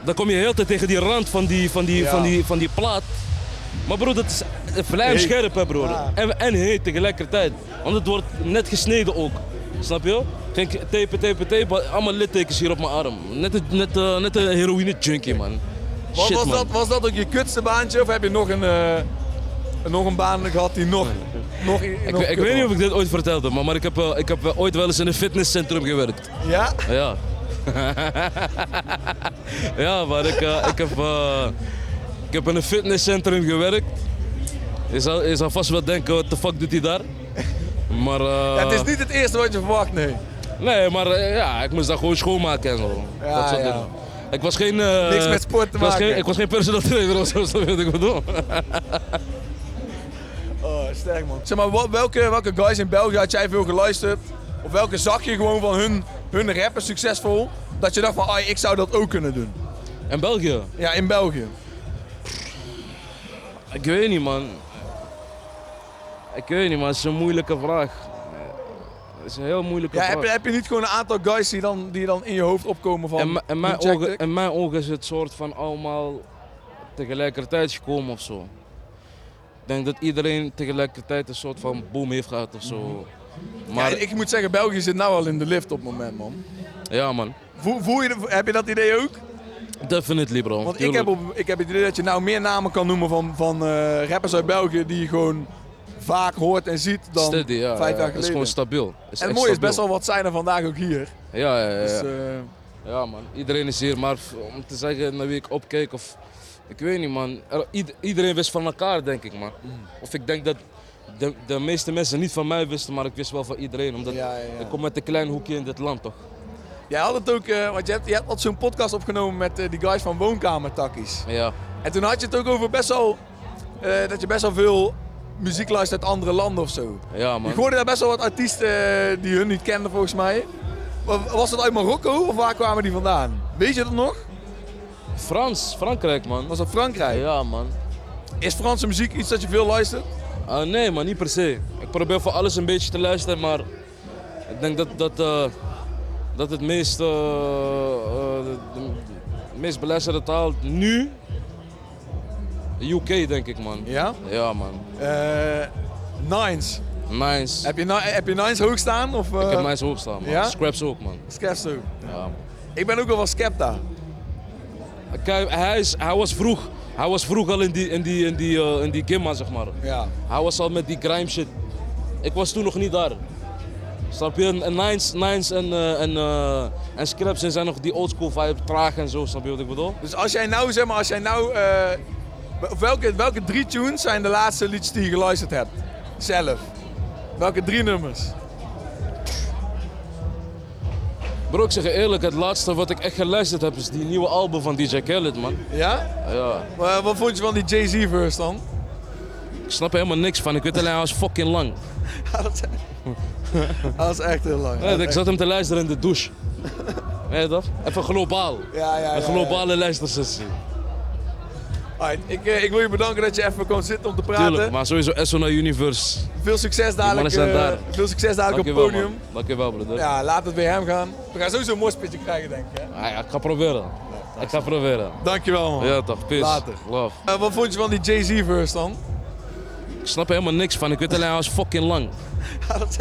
Speaker 7: dan kom je heel de tijd tegen die rand van die, van die,
Speaker 1: Ja.
Speaker 7: van die, van die plaat. Maar bro, dat is vlijm scherp hè broer.
Speaker 1: Ah.
Speaker 7: En, en heet tegelijkertijd. Want het wordt net gesneden ook. Snap je? Ging ik tapen, tapen, tapen. Allemaal littekens hier op mijn arm. Net een, net, eh, net een heroïne junkie man.
Speaker 1: Wat
Speaker 7: Shit,
Speaker 1: was,
Speaker 7: man.
Speaker 1: dat, was dat ook je kutste baantje of heb je nog een, eh, nog een baan gehad die nog... nog,
Speaker 7: Ik, ik weet niet of ik dit ooit verteld heb, maar, maar ik, heb, eh, ik heb eh, ooit wel eens in een fitnesscentrum gewerkt.
Speaker 1: Ja?
Speaker 7: Oh, Ja. ja, maar ik, eh, ik, heb, eh, ik heb in een fitnesscentrum gewerkt. Je zal, je zal vast wel denken, wat de fuck doet hij daar? Maar, eh,
Speaker 1: Ja, Het is niet het eerste wat je verwacht, nee.
Speaker 7: Nee, maar eh, ja, ik moest daar gewoon schoonmaken en zo.
Speaker 1: Ja,
Speaker 7: dat soort
Speaker 1: ja.
Speaker 7: dingen. Ik was geen... eh,
Speaker 1: Niks met sport te
Speaker 7: ik was
Speaker 1: maken.
Speaker 7: Geen, ik was geen personal trainer of zo, zo weet ik bedoel.
Speaker 1: Oh, sterk man. Zeg maar, wat- welke, welke guys in België had jij veel geluisterd? Of welke zag je gewoon van hun, hun rappen succesvol? Dat je dacht van, ah, ik zou dat ook kunnen doen.
Speaker 7: In België?
Speaker 1: Ja, in België.
Speaker 7: Ik weet niet, man. Ik weet niet, man. Het is een moeilijke vraag. Het is een heel moeilijke
Speaker 1: Ja,
Speaker 7: vraag.
Speaker 1: heb, je- heb je niet gewoon een aantal guys die dan, die dan in je hoofd opkomen van...
Speaker 7: In, m- in mijn
Speaker 1: die check
Speaker 7: ogen,
Speaker 1: ik?
Speaker 7: in mijn ogen is het soort van allemaal tegelijkertijd gekomen of zo. Ik denk dat iedereen tegelijkertijd een soort van boom heeft gehad of zo. Maar
Speaker 1: Mhm. Ja,
Speaker 7: ja,
Speaker 1: ik moet zeggen, België zit nou al in de lift op het moment, man.
Speaker 7: man,
Speaker 1: Voel, voel je, de- heb je dat idee ook?
Speaker 7: definitely bro.
Speaker 1: Want ik
Speaker 7: Tuurlijk.
Speaker 1: heb, op, ik heb het idee dat je nou meer namen kan noemen van, van eh, rappers uit België die je gewoon vaak hoort en ziet dan
Speaker 7: Steady, ja,
Speaker 1: vijf jaar
Speaker 7: ja, Het is
Speaker 1: geleden.
Speaker 7: gewoon stabiel. Het
Speaker 1: en
Speaker 7: echt
Speaker 1: mooi is best
Speaker 7: stabiel.
Speaker 1: wel wat zijn er vandaag ook hier.
Speaker 7: Ja, ja, ja, ja.
Speaker 1: Dus, eh,
Speaker 7: Ja, man, iedereen is hier, maar om te zeggen naar wie ik opkijk of. Ik weet niet, man. Er- ied- iedereen wist van elkaar, denk ik, man.
Speaker 1: Mm.
Speaker 7: Of ik denk dat de, de meeste mensen niet van mij wisten, maar ik wist wel van iedereen. Omdat
Speaker 1: Ja, ja, ja.
Speaker 7: ik kom met een klein hoekje in dit land, toch?
Speaker 1: Jij had het ook, eh, want je hebt, je hebt al zo'n podcast opgenomen met eh, die guys van Woonkamertakkies.
Speaker 7: Ja,
Speaker 1: En toen had je het ook over best wel, eh, dat je best wel veel muziek luistert uit andere landen of zo.
Speaker 7: ja
Speaker 1: Ik
Speaker 7: man.
Speaker 1: hoorde daar best wel wat artiesten eh, die hun niet kenden volgens mij. Wa- Was dat uit Marokko of waar kwamen die vandaan? Weet je dat nog?
Speaker 7: Frans, Frankrijk, man.
Speaker 1: Was dat Frankrijk?
Speaker 7: Ja, man.
Speaker 1: Is Franse muziek iets dat je veel luistert?
Speaker 7: Ah, nee, maar niet per se. Ik probeer voor alles een beetje te luisteren, maar ik denk dat, dat, eh, dat het meest, eh, eh, de, de meest beluisterde taal nu UK denk ik man.
Speaker 1: Ja.
Speaker 7: Ja man,
Speaker 1: Eh, nines.
Speaker 7: nice.
Speaker 1: Heb je, ni- heb je Nines hoog staan? Of,
Speaker 7: Ik heb
Speaker 1: eh
Speaker 7: nice hoop staan man.
Speaker 1: ja?
Speaker 7: Scraps ook man.
Speaker 1: Skepta?
Speaker 7: Ja.
Speaker 1: Ik ben ook wel wat Skepta.
Speaker 7: Kijk, hij, is, hij was vroeg. Hij was vroeg al in die, in die, in die, eh, in die gimma zeg maar.
Speaker 1: Ja.
Speaker 7: Hij was al met die grime shit. Ik was toen nog niet daar. Snap je? En- En Nines, Nines en, eh en, eh, en Scraps zijn nog die oldschool vibe, traag en zo, snap je wat ik bedoel?
Speaker 1: Dus als jij nou, zeg maar, als jij nou... eh, wel- welke, welke drie tunes zijn de laatste liedjes die je geluisterd hebt? Zelf. Welke drie nummers?
Speaker 7: Bro, ik zeg je eerlijk, het laatste wat ik echt geluisterd heb is die nieuwe album van DJ Khaled, man.
Speaker 1: Ja?
Speaker 7: Ja,
Speaker 1: Maar wat vond je van die Jay-Z verse dan?
Speaker 7: ik snap er helemaal niks van, ik weet alleen hij was fucking lang.
Speaker 1: dat was echt heel lang.
Speaker 7: Ja, ik zat hem te luisteren in de douche. Weet je dat? Even globaal.
Speaker 1: Ja, ja,
Speaker 7: Een
Speaker 1: ja, ja.
Speaker 7: globale luistersessie.
Speaker 1: Alright, ik, eh, ik wil je bedanken dat je even kon zitten om te praten.
Speaker 7: Tuurlijk, maar sowieso SO naar Universe.
Speaker 1: Veel succes dadelijk,
Speaker 7: Die mannen zijn
Speaker 1: eh,
Speaker 7: daar.
Speaker 1: veel succes dadelijk op
Speaker 7: Dankjewel,
Speaker 1: het
Speaker 7: man.
Speaker 1: podium.
Speaker 7: Dankjewel, broeder.
Speaker 1: Ja, laat het bij hem gaan. We gaan sowieso een mooi spitje krijgen, denk ik. Hè?
Speaker 7: Ah, ja, ik ga proberen. Ik ga proberen.
Speaker 1: Dankjewel, man.
Speaker 7: Ja toch, peace.
Speaker 1: Later.
Speaker 7: Love.
Speaker 1: Eh, wat vond je van die Jay-Z verse dan?
Speaker 7: Ik snap er helemaal niks van, ik weet alleen hij was fucking lang.
Speaker 1: dat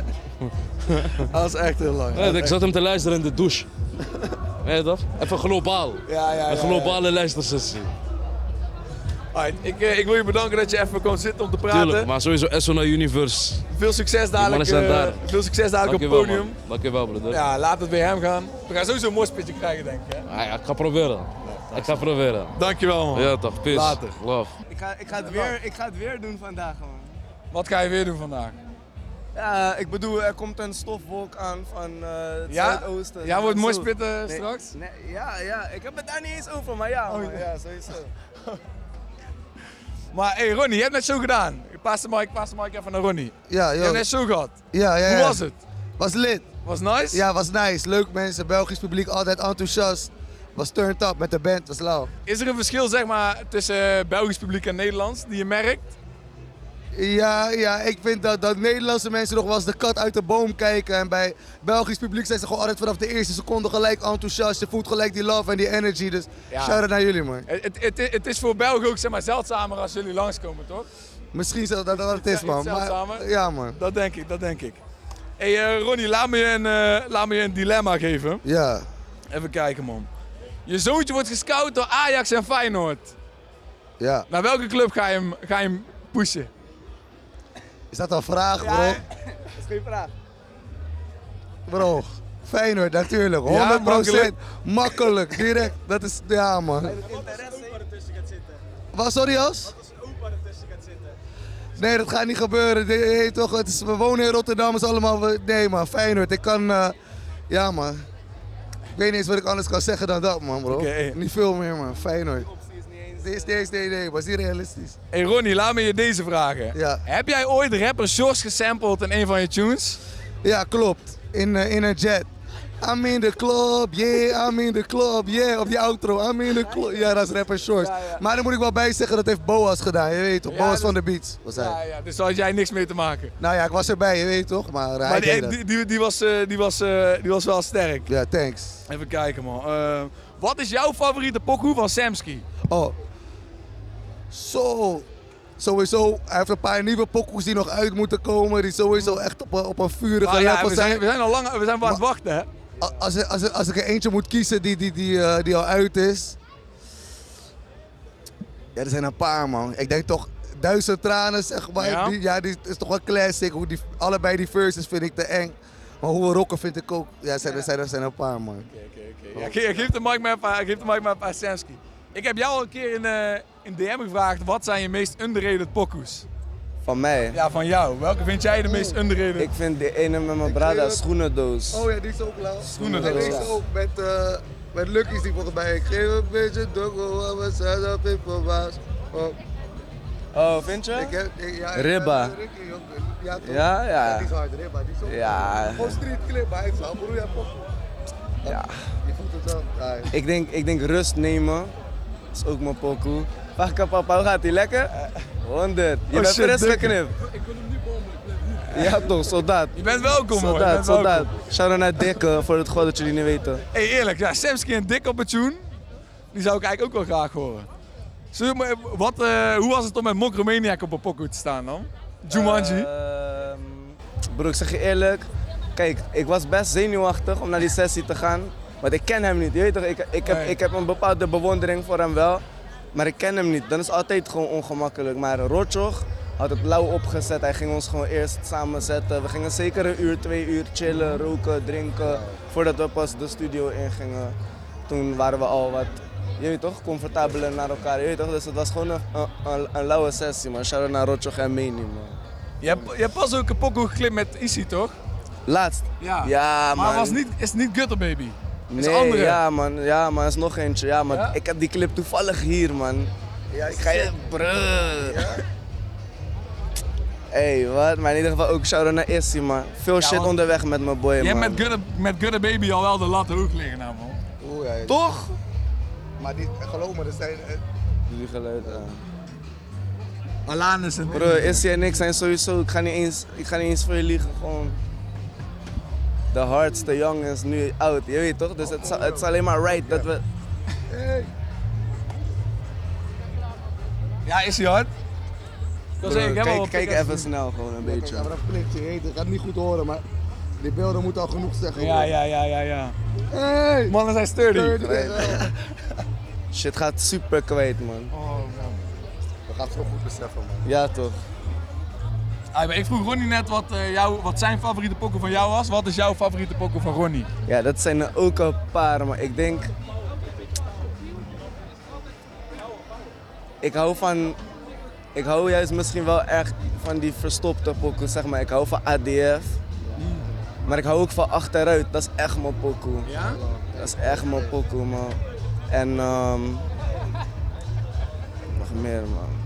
Speaker 1: was echt heel lang.
Speaker 7: Weet je, ik zat hem te luisteren in de douche. Weet je dat? Even globaal.
Speaker 1: Ja, ja,
Speaker 7: Een
Speaker 1: ja,
Speaker 7: globale luistersessie.
Speaker 1: ja. Alright, ik, eh, ik wil je bedanken dat je even kon zitten om te praten.
Speaker 7: Tuurlijk, maar sowieso SO naar Universe.
Speaker 1: Veel succes dadelijk,
Speaker 7: mannen zijn
Speaker 1: eh,
Speaker 7: daar.
Speaker 1: veel succes dadelijk op
Speaker 7: Dankjewel,
Speaker 1: het
Speaker 7: man.
Speaker 1: podium.
Speaker 7: Dankjewel, broeder. Ah,
Speaker 1: Ja, laat het bij hem gaan. We gaan sowieso een mooi spitje krijgen, denk ik. Hè?
Speaker 7: Ja, ik ga proberen. Ik ga proberen.
Speaker 1: Dankjewel, man.
Speaker 7: Ja toch, peace.
Speaker 1: Later.
Speaker 7: Love.
Speaker 8: Ik ga, ik, ga het weer, ik ga het weer doen vandaag, man.
Speaker 1: Wat ga je weer doen vandaag?
Speaker 8: Ja, ik bedoel, er komt een stofwolk aan van eh, het
Speaker 1: Ja?
Speaker 8: zuidoosten.
Speaker 1: Jij wordt mooi
Speaker 8: Zo.
Speaker 1: spitten
Speaker 8: Nee,
Speaker 1: straks? Oh,
Speaker 8: Nee, ja, ja, ik heb het daar niet eens over, maar ja, man, ja sowieso.
Speaker 1: Maar hey, Ronnie, je hebt net zo gedaan. Pas de mic, pas de mic even naar Ronnie.
Speaker 9: Ja,
Speaker 1: Je
Speaker 9: joh.
Speaker 1: hebt net zo gehad.
Speaker 9: ja, ja, ja.
Speaker 1: Hoe was het?
Speaker 9: Was lit.
Speaker 1: Was nice?
Speaker 9: Ja, was nice. Leuk mensen. Belgisch publiek altijd enthousiast. Was turned up met de band. Was lauw.
Speaker 1: Is er een verschil zeg maar, tussen eh, Belgisch publiek en Nederlands die je merkt?
Speaker 9: Ja, ja. Ik vind dat, dat Nederlandse mensen nog wel eens de kat uit de boom kijken. En bij Belgisch publiek zijn ze gewoon altijd vanaf de eerste seconde gelijk enthousiast. Je voelt gelijk die love en die energy. Dus
Speaker 1: Ja.
Speaker 9: shout-out naar jullie, man.
Speaker 1: Het, het, het, het is voor Belgen ook zeg maar, zeldzamer als jullie langskomen, toch?
Speaker 9: Misschien zelfs dat dat het is,
Speaker 1: Ja,
Speaker 9: man.
Speaker 1: iets zeldzamer.
Speaker 9: ja, man.
Speaker 1: Dat denk ik, dat denk ik. hey, eh, Ronnie, laat me, je een, eh, laat me je een dilemma geven.
Speaker 9: Ja.
Speaker 1: Even kijken, man. Je zoontje wordt gescout door Ajax en Feyenoord.
Speaker 9: Ja.
Speaker 1: Naar welke club ga je hem, ga je hem pushen?
Speaker 9: Is dat een vraag, bro? dat is geen vraag. Bro, Feyenoord natuurlijk. 100%
Speaker 1: makkelijk.
Speaker 9: makkelijk, direct. Dat is, ja man. Wat Wat, sorry As? Nee, dat gaat niet gebeuren. Nee, nee, toch, het is, we wonen in Rotterdam, is allemaal... we- Nee man, Feyenoord, ik kan... eh, ja man. Ik weet niet eens wat ik anders kan zeggen dan dat man, bro.
Speaker 1: Oké.
Speaker 9: Niet veel meer man, Feyenoord. Nee, is niet eens, nee, nee, was niet realistisch.
Speaker 1: hey, Ronnie, laat me je deze vragen.
Speaker 9: Ja.
Speaker 1: Heb jij ooit rapper Sjors gesampled in een van je tunes?
Speaker 9: Ja, klopt. In, eh, in een jet. I'm in the club, yeah, I'm in the club, yeah. Op die outro, I'm in the club. Ja, dat is rapper Shorts. Maar daar moet ik wel bij zeggen, dat heeft Boas gedaan, je weet toch. Boas van de Beats was hij.
Speaker 1: Ja, ja, dus daar had jij niks mee te maken.
Speaker 9: Nou ja, ik was erbij, je weet toch. Maar, eh, hij
Speaker 1: Maar
Speaker 9: deed
Speaker 1: die,
Speaker 9: dat.
Speaker 1: die, die, die was, eh, die, was, eh, die was wel sterk.
Speaker 9: Ja, thanks.
Speaker 1: Even kijken, man. Eh, wat is jouw favoriete pokoe van Samsky?
Speaker 9: Oh. Zo. Sowieso, hij heeft een paar nieuwe pokoes die nog uit moeten komen. Die sowieso echt op, een- op een vurige
Speaker 1: Ah, ja,
Speaker 9: level
Speaker 1: we, zijn, we zijn al lang we zijn maar aan het
Speaker 9: Maar-
Speaker 1: wachten, hè?
Speaker 9: A- Als, als, als, als ik er eentje moet kiezen die, die, die, eh, die al uit is. Ja, er zijn een paar, man. Ik denk toch Duizend Tranen, zeg maar.
Speaker 1: Ja?
Speaker 9: Die, ja, die is toch wel classic. Hoe die, allebei die verses vind ik te eng. Maar hoe we rocken vind ik ook. Ja, er zijn, er zijn, er zijn een paar, man.
Speaker 1: Ja, ge- geef de mic maar even aan- geef de mic maar even aan Samsky. Ik heb jou al een keer in, eh, in DM gevraagd, wat zijn je meest underrated pokoes?
Speaker 8: Van mij.
Speaker 1: Ja, van jou. Welke vind jij de meest underrated?
Speaker 8: Ik vind de ene met mijn
Speaker 9: brada,
Speaker 8: brada schoenendoos.
Speaker 9: Oh ja, die is ook lauw.
Speaker 1: Schoenen
Speaker 9: En
Speaker 1: doos.
Speaker 9: deze ook met, eh met Lucky's die volgens mij. Ik geef een beetje dokkel, we zijn dat ik verbaas. Oh,
Speaker 8: Oh, vind je?
Speaker 9: ik heb, ik- ja, ik-
Speaker 8: Ribba.
Speaker 9: Ricky ook. Ja, toch?
Speaker 8: Ja,
Speaker 9: Ja,
Speaker 8: ja.
Speaker 9: die is hard, hè, maar die is ook...
Speaker 8: Ja.
Speaker 9: Gewoon street clip, maar hij is wel broer, ja, pop.
Speaker 8: Ja.
Speaker 9: Je voelt het wel. Ja,
Speaker 8: Ik denk, ik denk rust nemen. Dat is ook mijn pokoe. Pakka papa, hoe gaat ie? Lekker? 100. Je bent
Speaker 1: Oh, shit,
Speaker 8: fris
Speaker 1: dikke.
Speaker 8: geknipt. Ja toch, soldaat.
Speaker 1: Je bent welkom hoor. je
Speaker 8: Soldaat,
Speaker 1: bent welkom.
Speaker 8: soldaat. Shout-out naar Dikke, voor het god dat jullie niet weten.
Speaker 1: Hey, eerlijk, ja, Samsky en Dick op het tune, die zou ik eigenlijk ook wel graag horen. Zullen we maar- wat, eh, hoe was het om met Mok Romaniac op een pokoe te staan dan? Jumanji.
Speaker 8: Ehm, broer, ik zeg je eerlijk. Kijk, ik was best zenuwachtig om naar die sessie te gaan. Want ik ken hem niet. Je weet toch, ik, ik, heb,
Speaker 1: Nee.
Speaker 8: ik heb een bepaalde bewondering voor hem wel. Maar ik ken hem niet. Dan is het altijd gewoon ongemakkelijk. Maar Rotjoch had het lauw opgezet. Hij ging ons gewoon eerst samenzetten. We gingen zeker een uur, twee uur chillen, roken, drinken. Voordat we pas de studio ingingen. Toen waren we al wat, je weet toch, comfortabeler naar elkaar. Je weet toch, dus het was gewoon een, een, een, een lauwe sessie, man. Shout-out naar Rotjoch en Meni, man.
Speaker 1: Je hebt, je hebt pas ook een pokoe geklipt met Issy, toch?
Speaker 8: Laatst.
Speaker 1: Ja.
Speaker 8: Ja, man.
Speaker 1: maar was niet, is niet Gutter Baby.
Speaker 8: Nee,
Speaker 1: andere.
Speaker 8: Ja, man. Ja, man. is nog eentje. Ja, maar
Speaker 1: Ja?
Speaker 8: ik heb die clip toevallig hier, man. Ja, ik ga je... Bruh. Hey, wat? Maar in ieder geval ook shout-out naar Issy, man. Veel shit
Speaker 1: want-
Speaker 8: onderweg met mijn boy,
Speaker 1: Je hebt
Speaker 8: man.
Speaker 1: met Gutter, met Gutter Baby al wel de lat hoog liggen, nou, man.
Speaker 9: Oeh, ja.
Speaker 8: Toch?
Speaker 9: Maar die, geloof me, er zijn... eh,
Speaker 8: Jullie geluid, ja.
Speaker 1: Alan is een...
Speaker 8: Bro, Issy en ik zijn sowieso... Ik ga niet eens, ik ga niet eens voor je liegen, gewoon... De hardste jong is nu oud, je weet toch? Dus het is, het is alleen maar right dat we...
Speaker 1: Ja, Issy hard. Dat
Speaker 8: Bro,
Speaker 1: zeg ik, hè, wel
Speaker 8: kijk,
Speaker 1: op-
Speaker 8: kijk even snel gewoon een beetje.
Speaker 9: Ja, maar dat klinkt je heet. Ik ga het niet goed horen, maar die beelden moeten al genoeg zeggen.
Speaker 1: Ja, ja, ja, ja, ja.
Speaker 9: hoor. Hey!
Speaker 1: Mannen zijn sturdy.
Speaker 8: Shit gaat super kwijt, man.
Speaker 9: Oh, We gaan het zo goed beseffen, man.
Speaker 8: Ja, toch?
Speaker 1: Ah, maar ik vroeg Ronnie net wat, eh, jou, wat zijn favoriete pokoe van jou was. Wat is jouw favoriete pokoe van Ronnie?
Speaker 8: Ja, dat zijn er ook een paar, maar ik denk. Ik hou van. Ik hou juist misschien wel echt van die verstopte pokoe, zeg maar. Ik hou van ADF. Maar ik hou ook van achteruit. Dat is echt mijn pokoe. Ja? Dat is echt mijn pokoe, man. En ehm nog meer, man.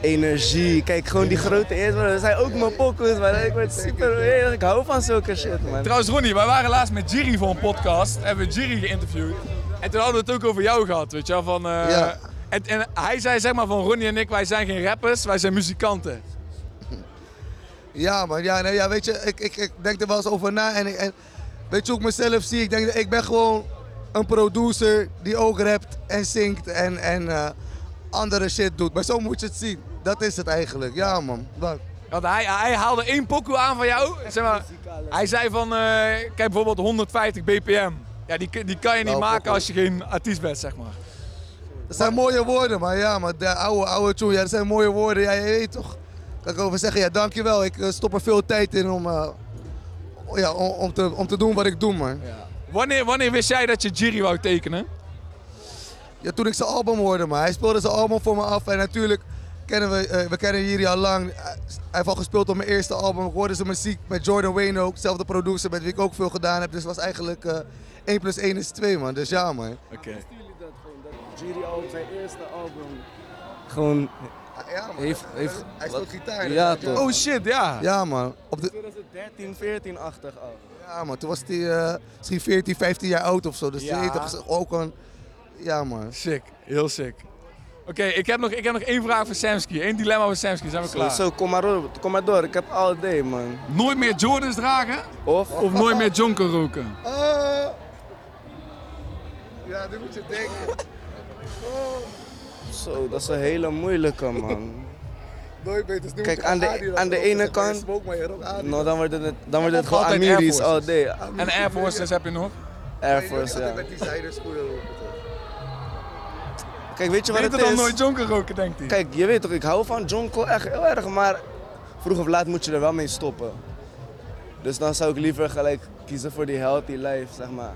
Speaker 8: Energie. Kijk, gewoon die grote eerst. Dat zijn ook mijn pokoes, man. Ik word super... Ik hou van zulke shit, man.
Speaker 1: Trouwens, Ronnie, wij waren laatst met Jiri voor een podcast. Hebben we Jiri geïnterviewd. En toen hadden we het ook over jou gehad, weet je wel. Van, eh,
Speaker 9: Ja.
Speaker 1: en, en hij zei zeg maar van Ronnie en ik, wij zijn geen rappers, wij zijn muzikanten.
Speaker 9: Ja, man. Ja, nee, ja, weet je, ik, ik, ik denk er wel eens over na. En, ik- en weet je hoe ik mezelf zie? Ik denk, dat ik ben gewoon een producer die ook rapt en zingt en, en eh, andere shit doet. Maar zo moet je het zien. Dat is het eigenlijk. Ja, man. Dank.
Speaker 1: Want hij, hij haalde één pokoe aan van jou. Zeg maar, hij zei van, eh, kijk bijvoorbeeld 150 bpm. Ja, die, kun- die kan je niet
Speaker 9: Nou,
Speaker 1: maken
Speaker 9: pokoe.
Speaker 1: als je geen artiest bent, zeg maar.
Speaker 9: Dat zijn mooie woorden, maar ja, maar de oude, oude tune, ja, dat zijn mooie woorden. Ja, je weet toch. Kan ik over zeggen, ja, dankjewel. Ik eh, stop er veel tijd in om, eh, ja, om, om te, om te doen wat ik doe, man. Ja.
Speaker 1: Wanneer, wanneer wist jij dat je Jiri wou tekenen?
Speaker 9: toen ik zijn album hoorde, man. Hij speelde zijn album voor me af en natuurlijk kennen we, eh, we kennen Jiri al lang. Hij heeft al gespeeld op mijn eerste album. Ik hoorde zijn muziek met Jordan Wayne ook, zelfde producer met wie ik ook veel gedaan heb. Dus het was eigenlijk eh 1 plus 1 is 2, man. Dus ja, man.
Speaker 8: Jiri al op zijn eerste album. Gewoon Ah,
Speaker 9: Ja, man.
Speaker 8: Heeft- heeft-
Speaker 9: hij speelt gitaar.
Speaker 8: Ja,
Speaker 9: inderdaad,
Speaker 8: toch.
Speaker 1: Oh shit, ja.
Speaker 9: Ja, man. Op de,
Speaker 8: 2013, 14-achtig
Speaker 1: oh.
Speaker 8: al.
Speaker 9: Ja, man, toen was hij eh, misschien 14, 15 jaar oud of zo. Dus
Speaker 1: Ja.
Speaker 9: die heet toch ook een. Ja, man.
Speaker 1: Sick, heel sick. Oké, ik, heb nog- ik heb nog één vraag voor Samsky. Eén dilemma voor Samsky, zijn we klaar.
Speaker 8: Zo, kom maar, door, kom maar door. Ik heb all day, man.
Speaker 1: Nooit meer Jordans dragen
Speaker 8: Of?
Speaker 1: of nooit meer jonker roken?
Speaker 9: Ja, dit moet je denken.
Speaker 8: Zo, dat is een hele moeilijke, man.
Speaker 9: Nooit beter.
Speaker 8: Kijk, moet je aan de- Adidas aan de roken, ene zeg maar, je kant- Nou, dan wordt het, dan wordt het
Speaker 1: Of
Speaker 8: gewoon
Speaker 1: altijd Air
Speaker 8: Amiris all
Speaker 1: Forces.
Speaker 8: day.
Speaker 1: En Air Forces heb je nog?
Speaker 8: Air Force, ja.
Speaker 9: die zijderschoenen
Speaker 8: Kijk, weet je wat
Speaker 1: Beter
Speaker 8: het
Speaker 1: dan
Speaker 8: is?
Speaker 1: nooit jonker roken, denkt hij.
Speaker 8: Kijk, je weet toch, ik hou van jonkel echt heel erg, maar vroeg of laat moet je er wel mee stoppen. Dus dan zou ik liever gelijk kiezen voor die healthy life, zeg maar.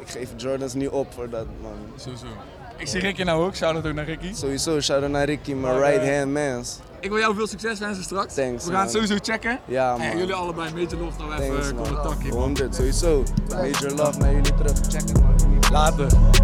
Speaker 8: Ik geef Jordans niet op voor dat, man.
Speaker 1: Sowieso. Ik zie Ricky nou ook, shout-out ook naar Ricky.
Speaker 8: Sowieso, shout-out naar Ricky, mijn
Speaker 1: Maar, eh,
Speaker 8: right-hand mans.
Speaker 1: Ik wil jou veel succes wensen straks.
Speaker 8: Thanks,
Speaker 1: we gaan het
Speaker 8: man.
Speaker 1: sowieso checken.
Speaker 8: Ja,
Speaker 1: En
Speaker 8: man.
Speaker 1: jullie allebei een beetje lof nou even
Speaker 8: Thanks,
Speaker 1: eh,
Speaker 8: man.
Speaker 1: komen takken.
Speaker 8: 100, sowieso. Major love naar jullie terug. Check het, man.
Speaker 1: Later.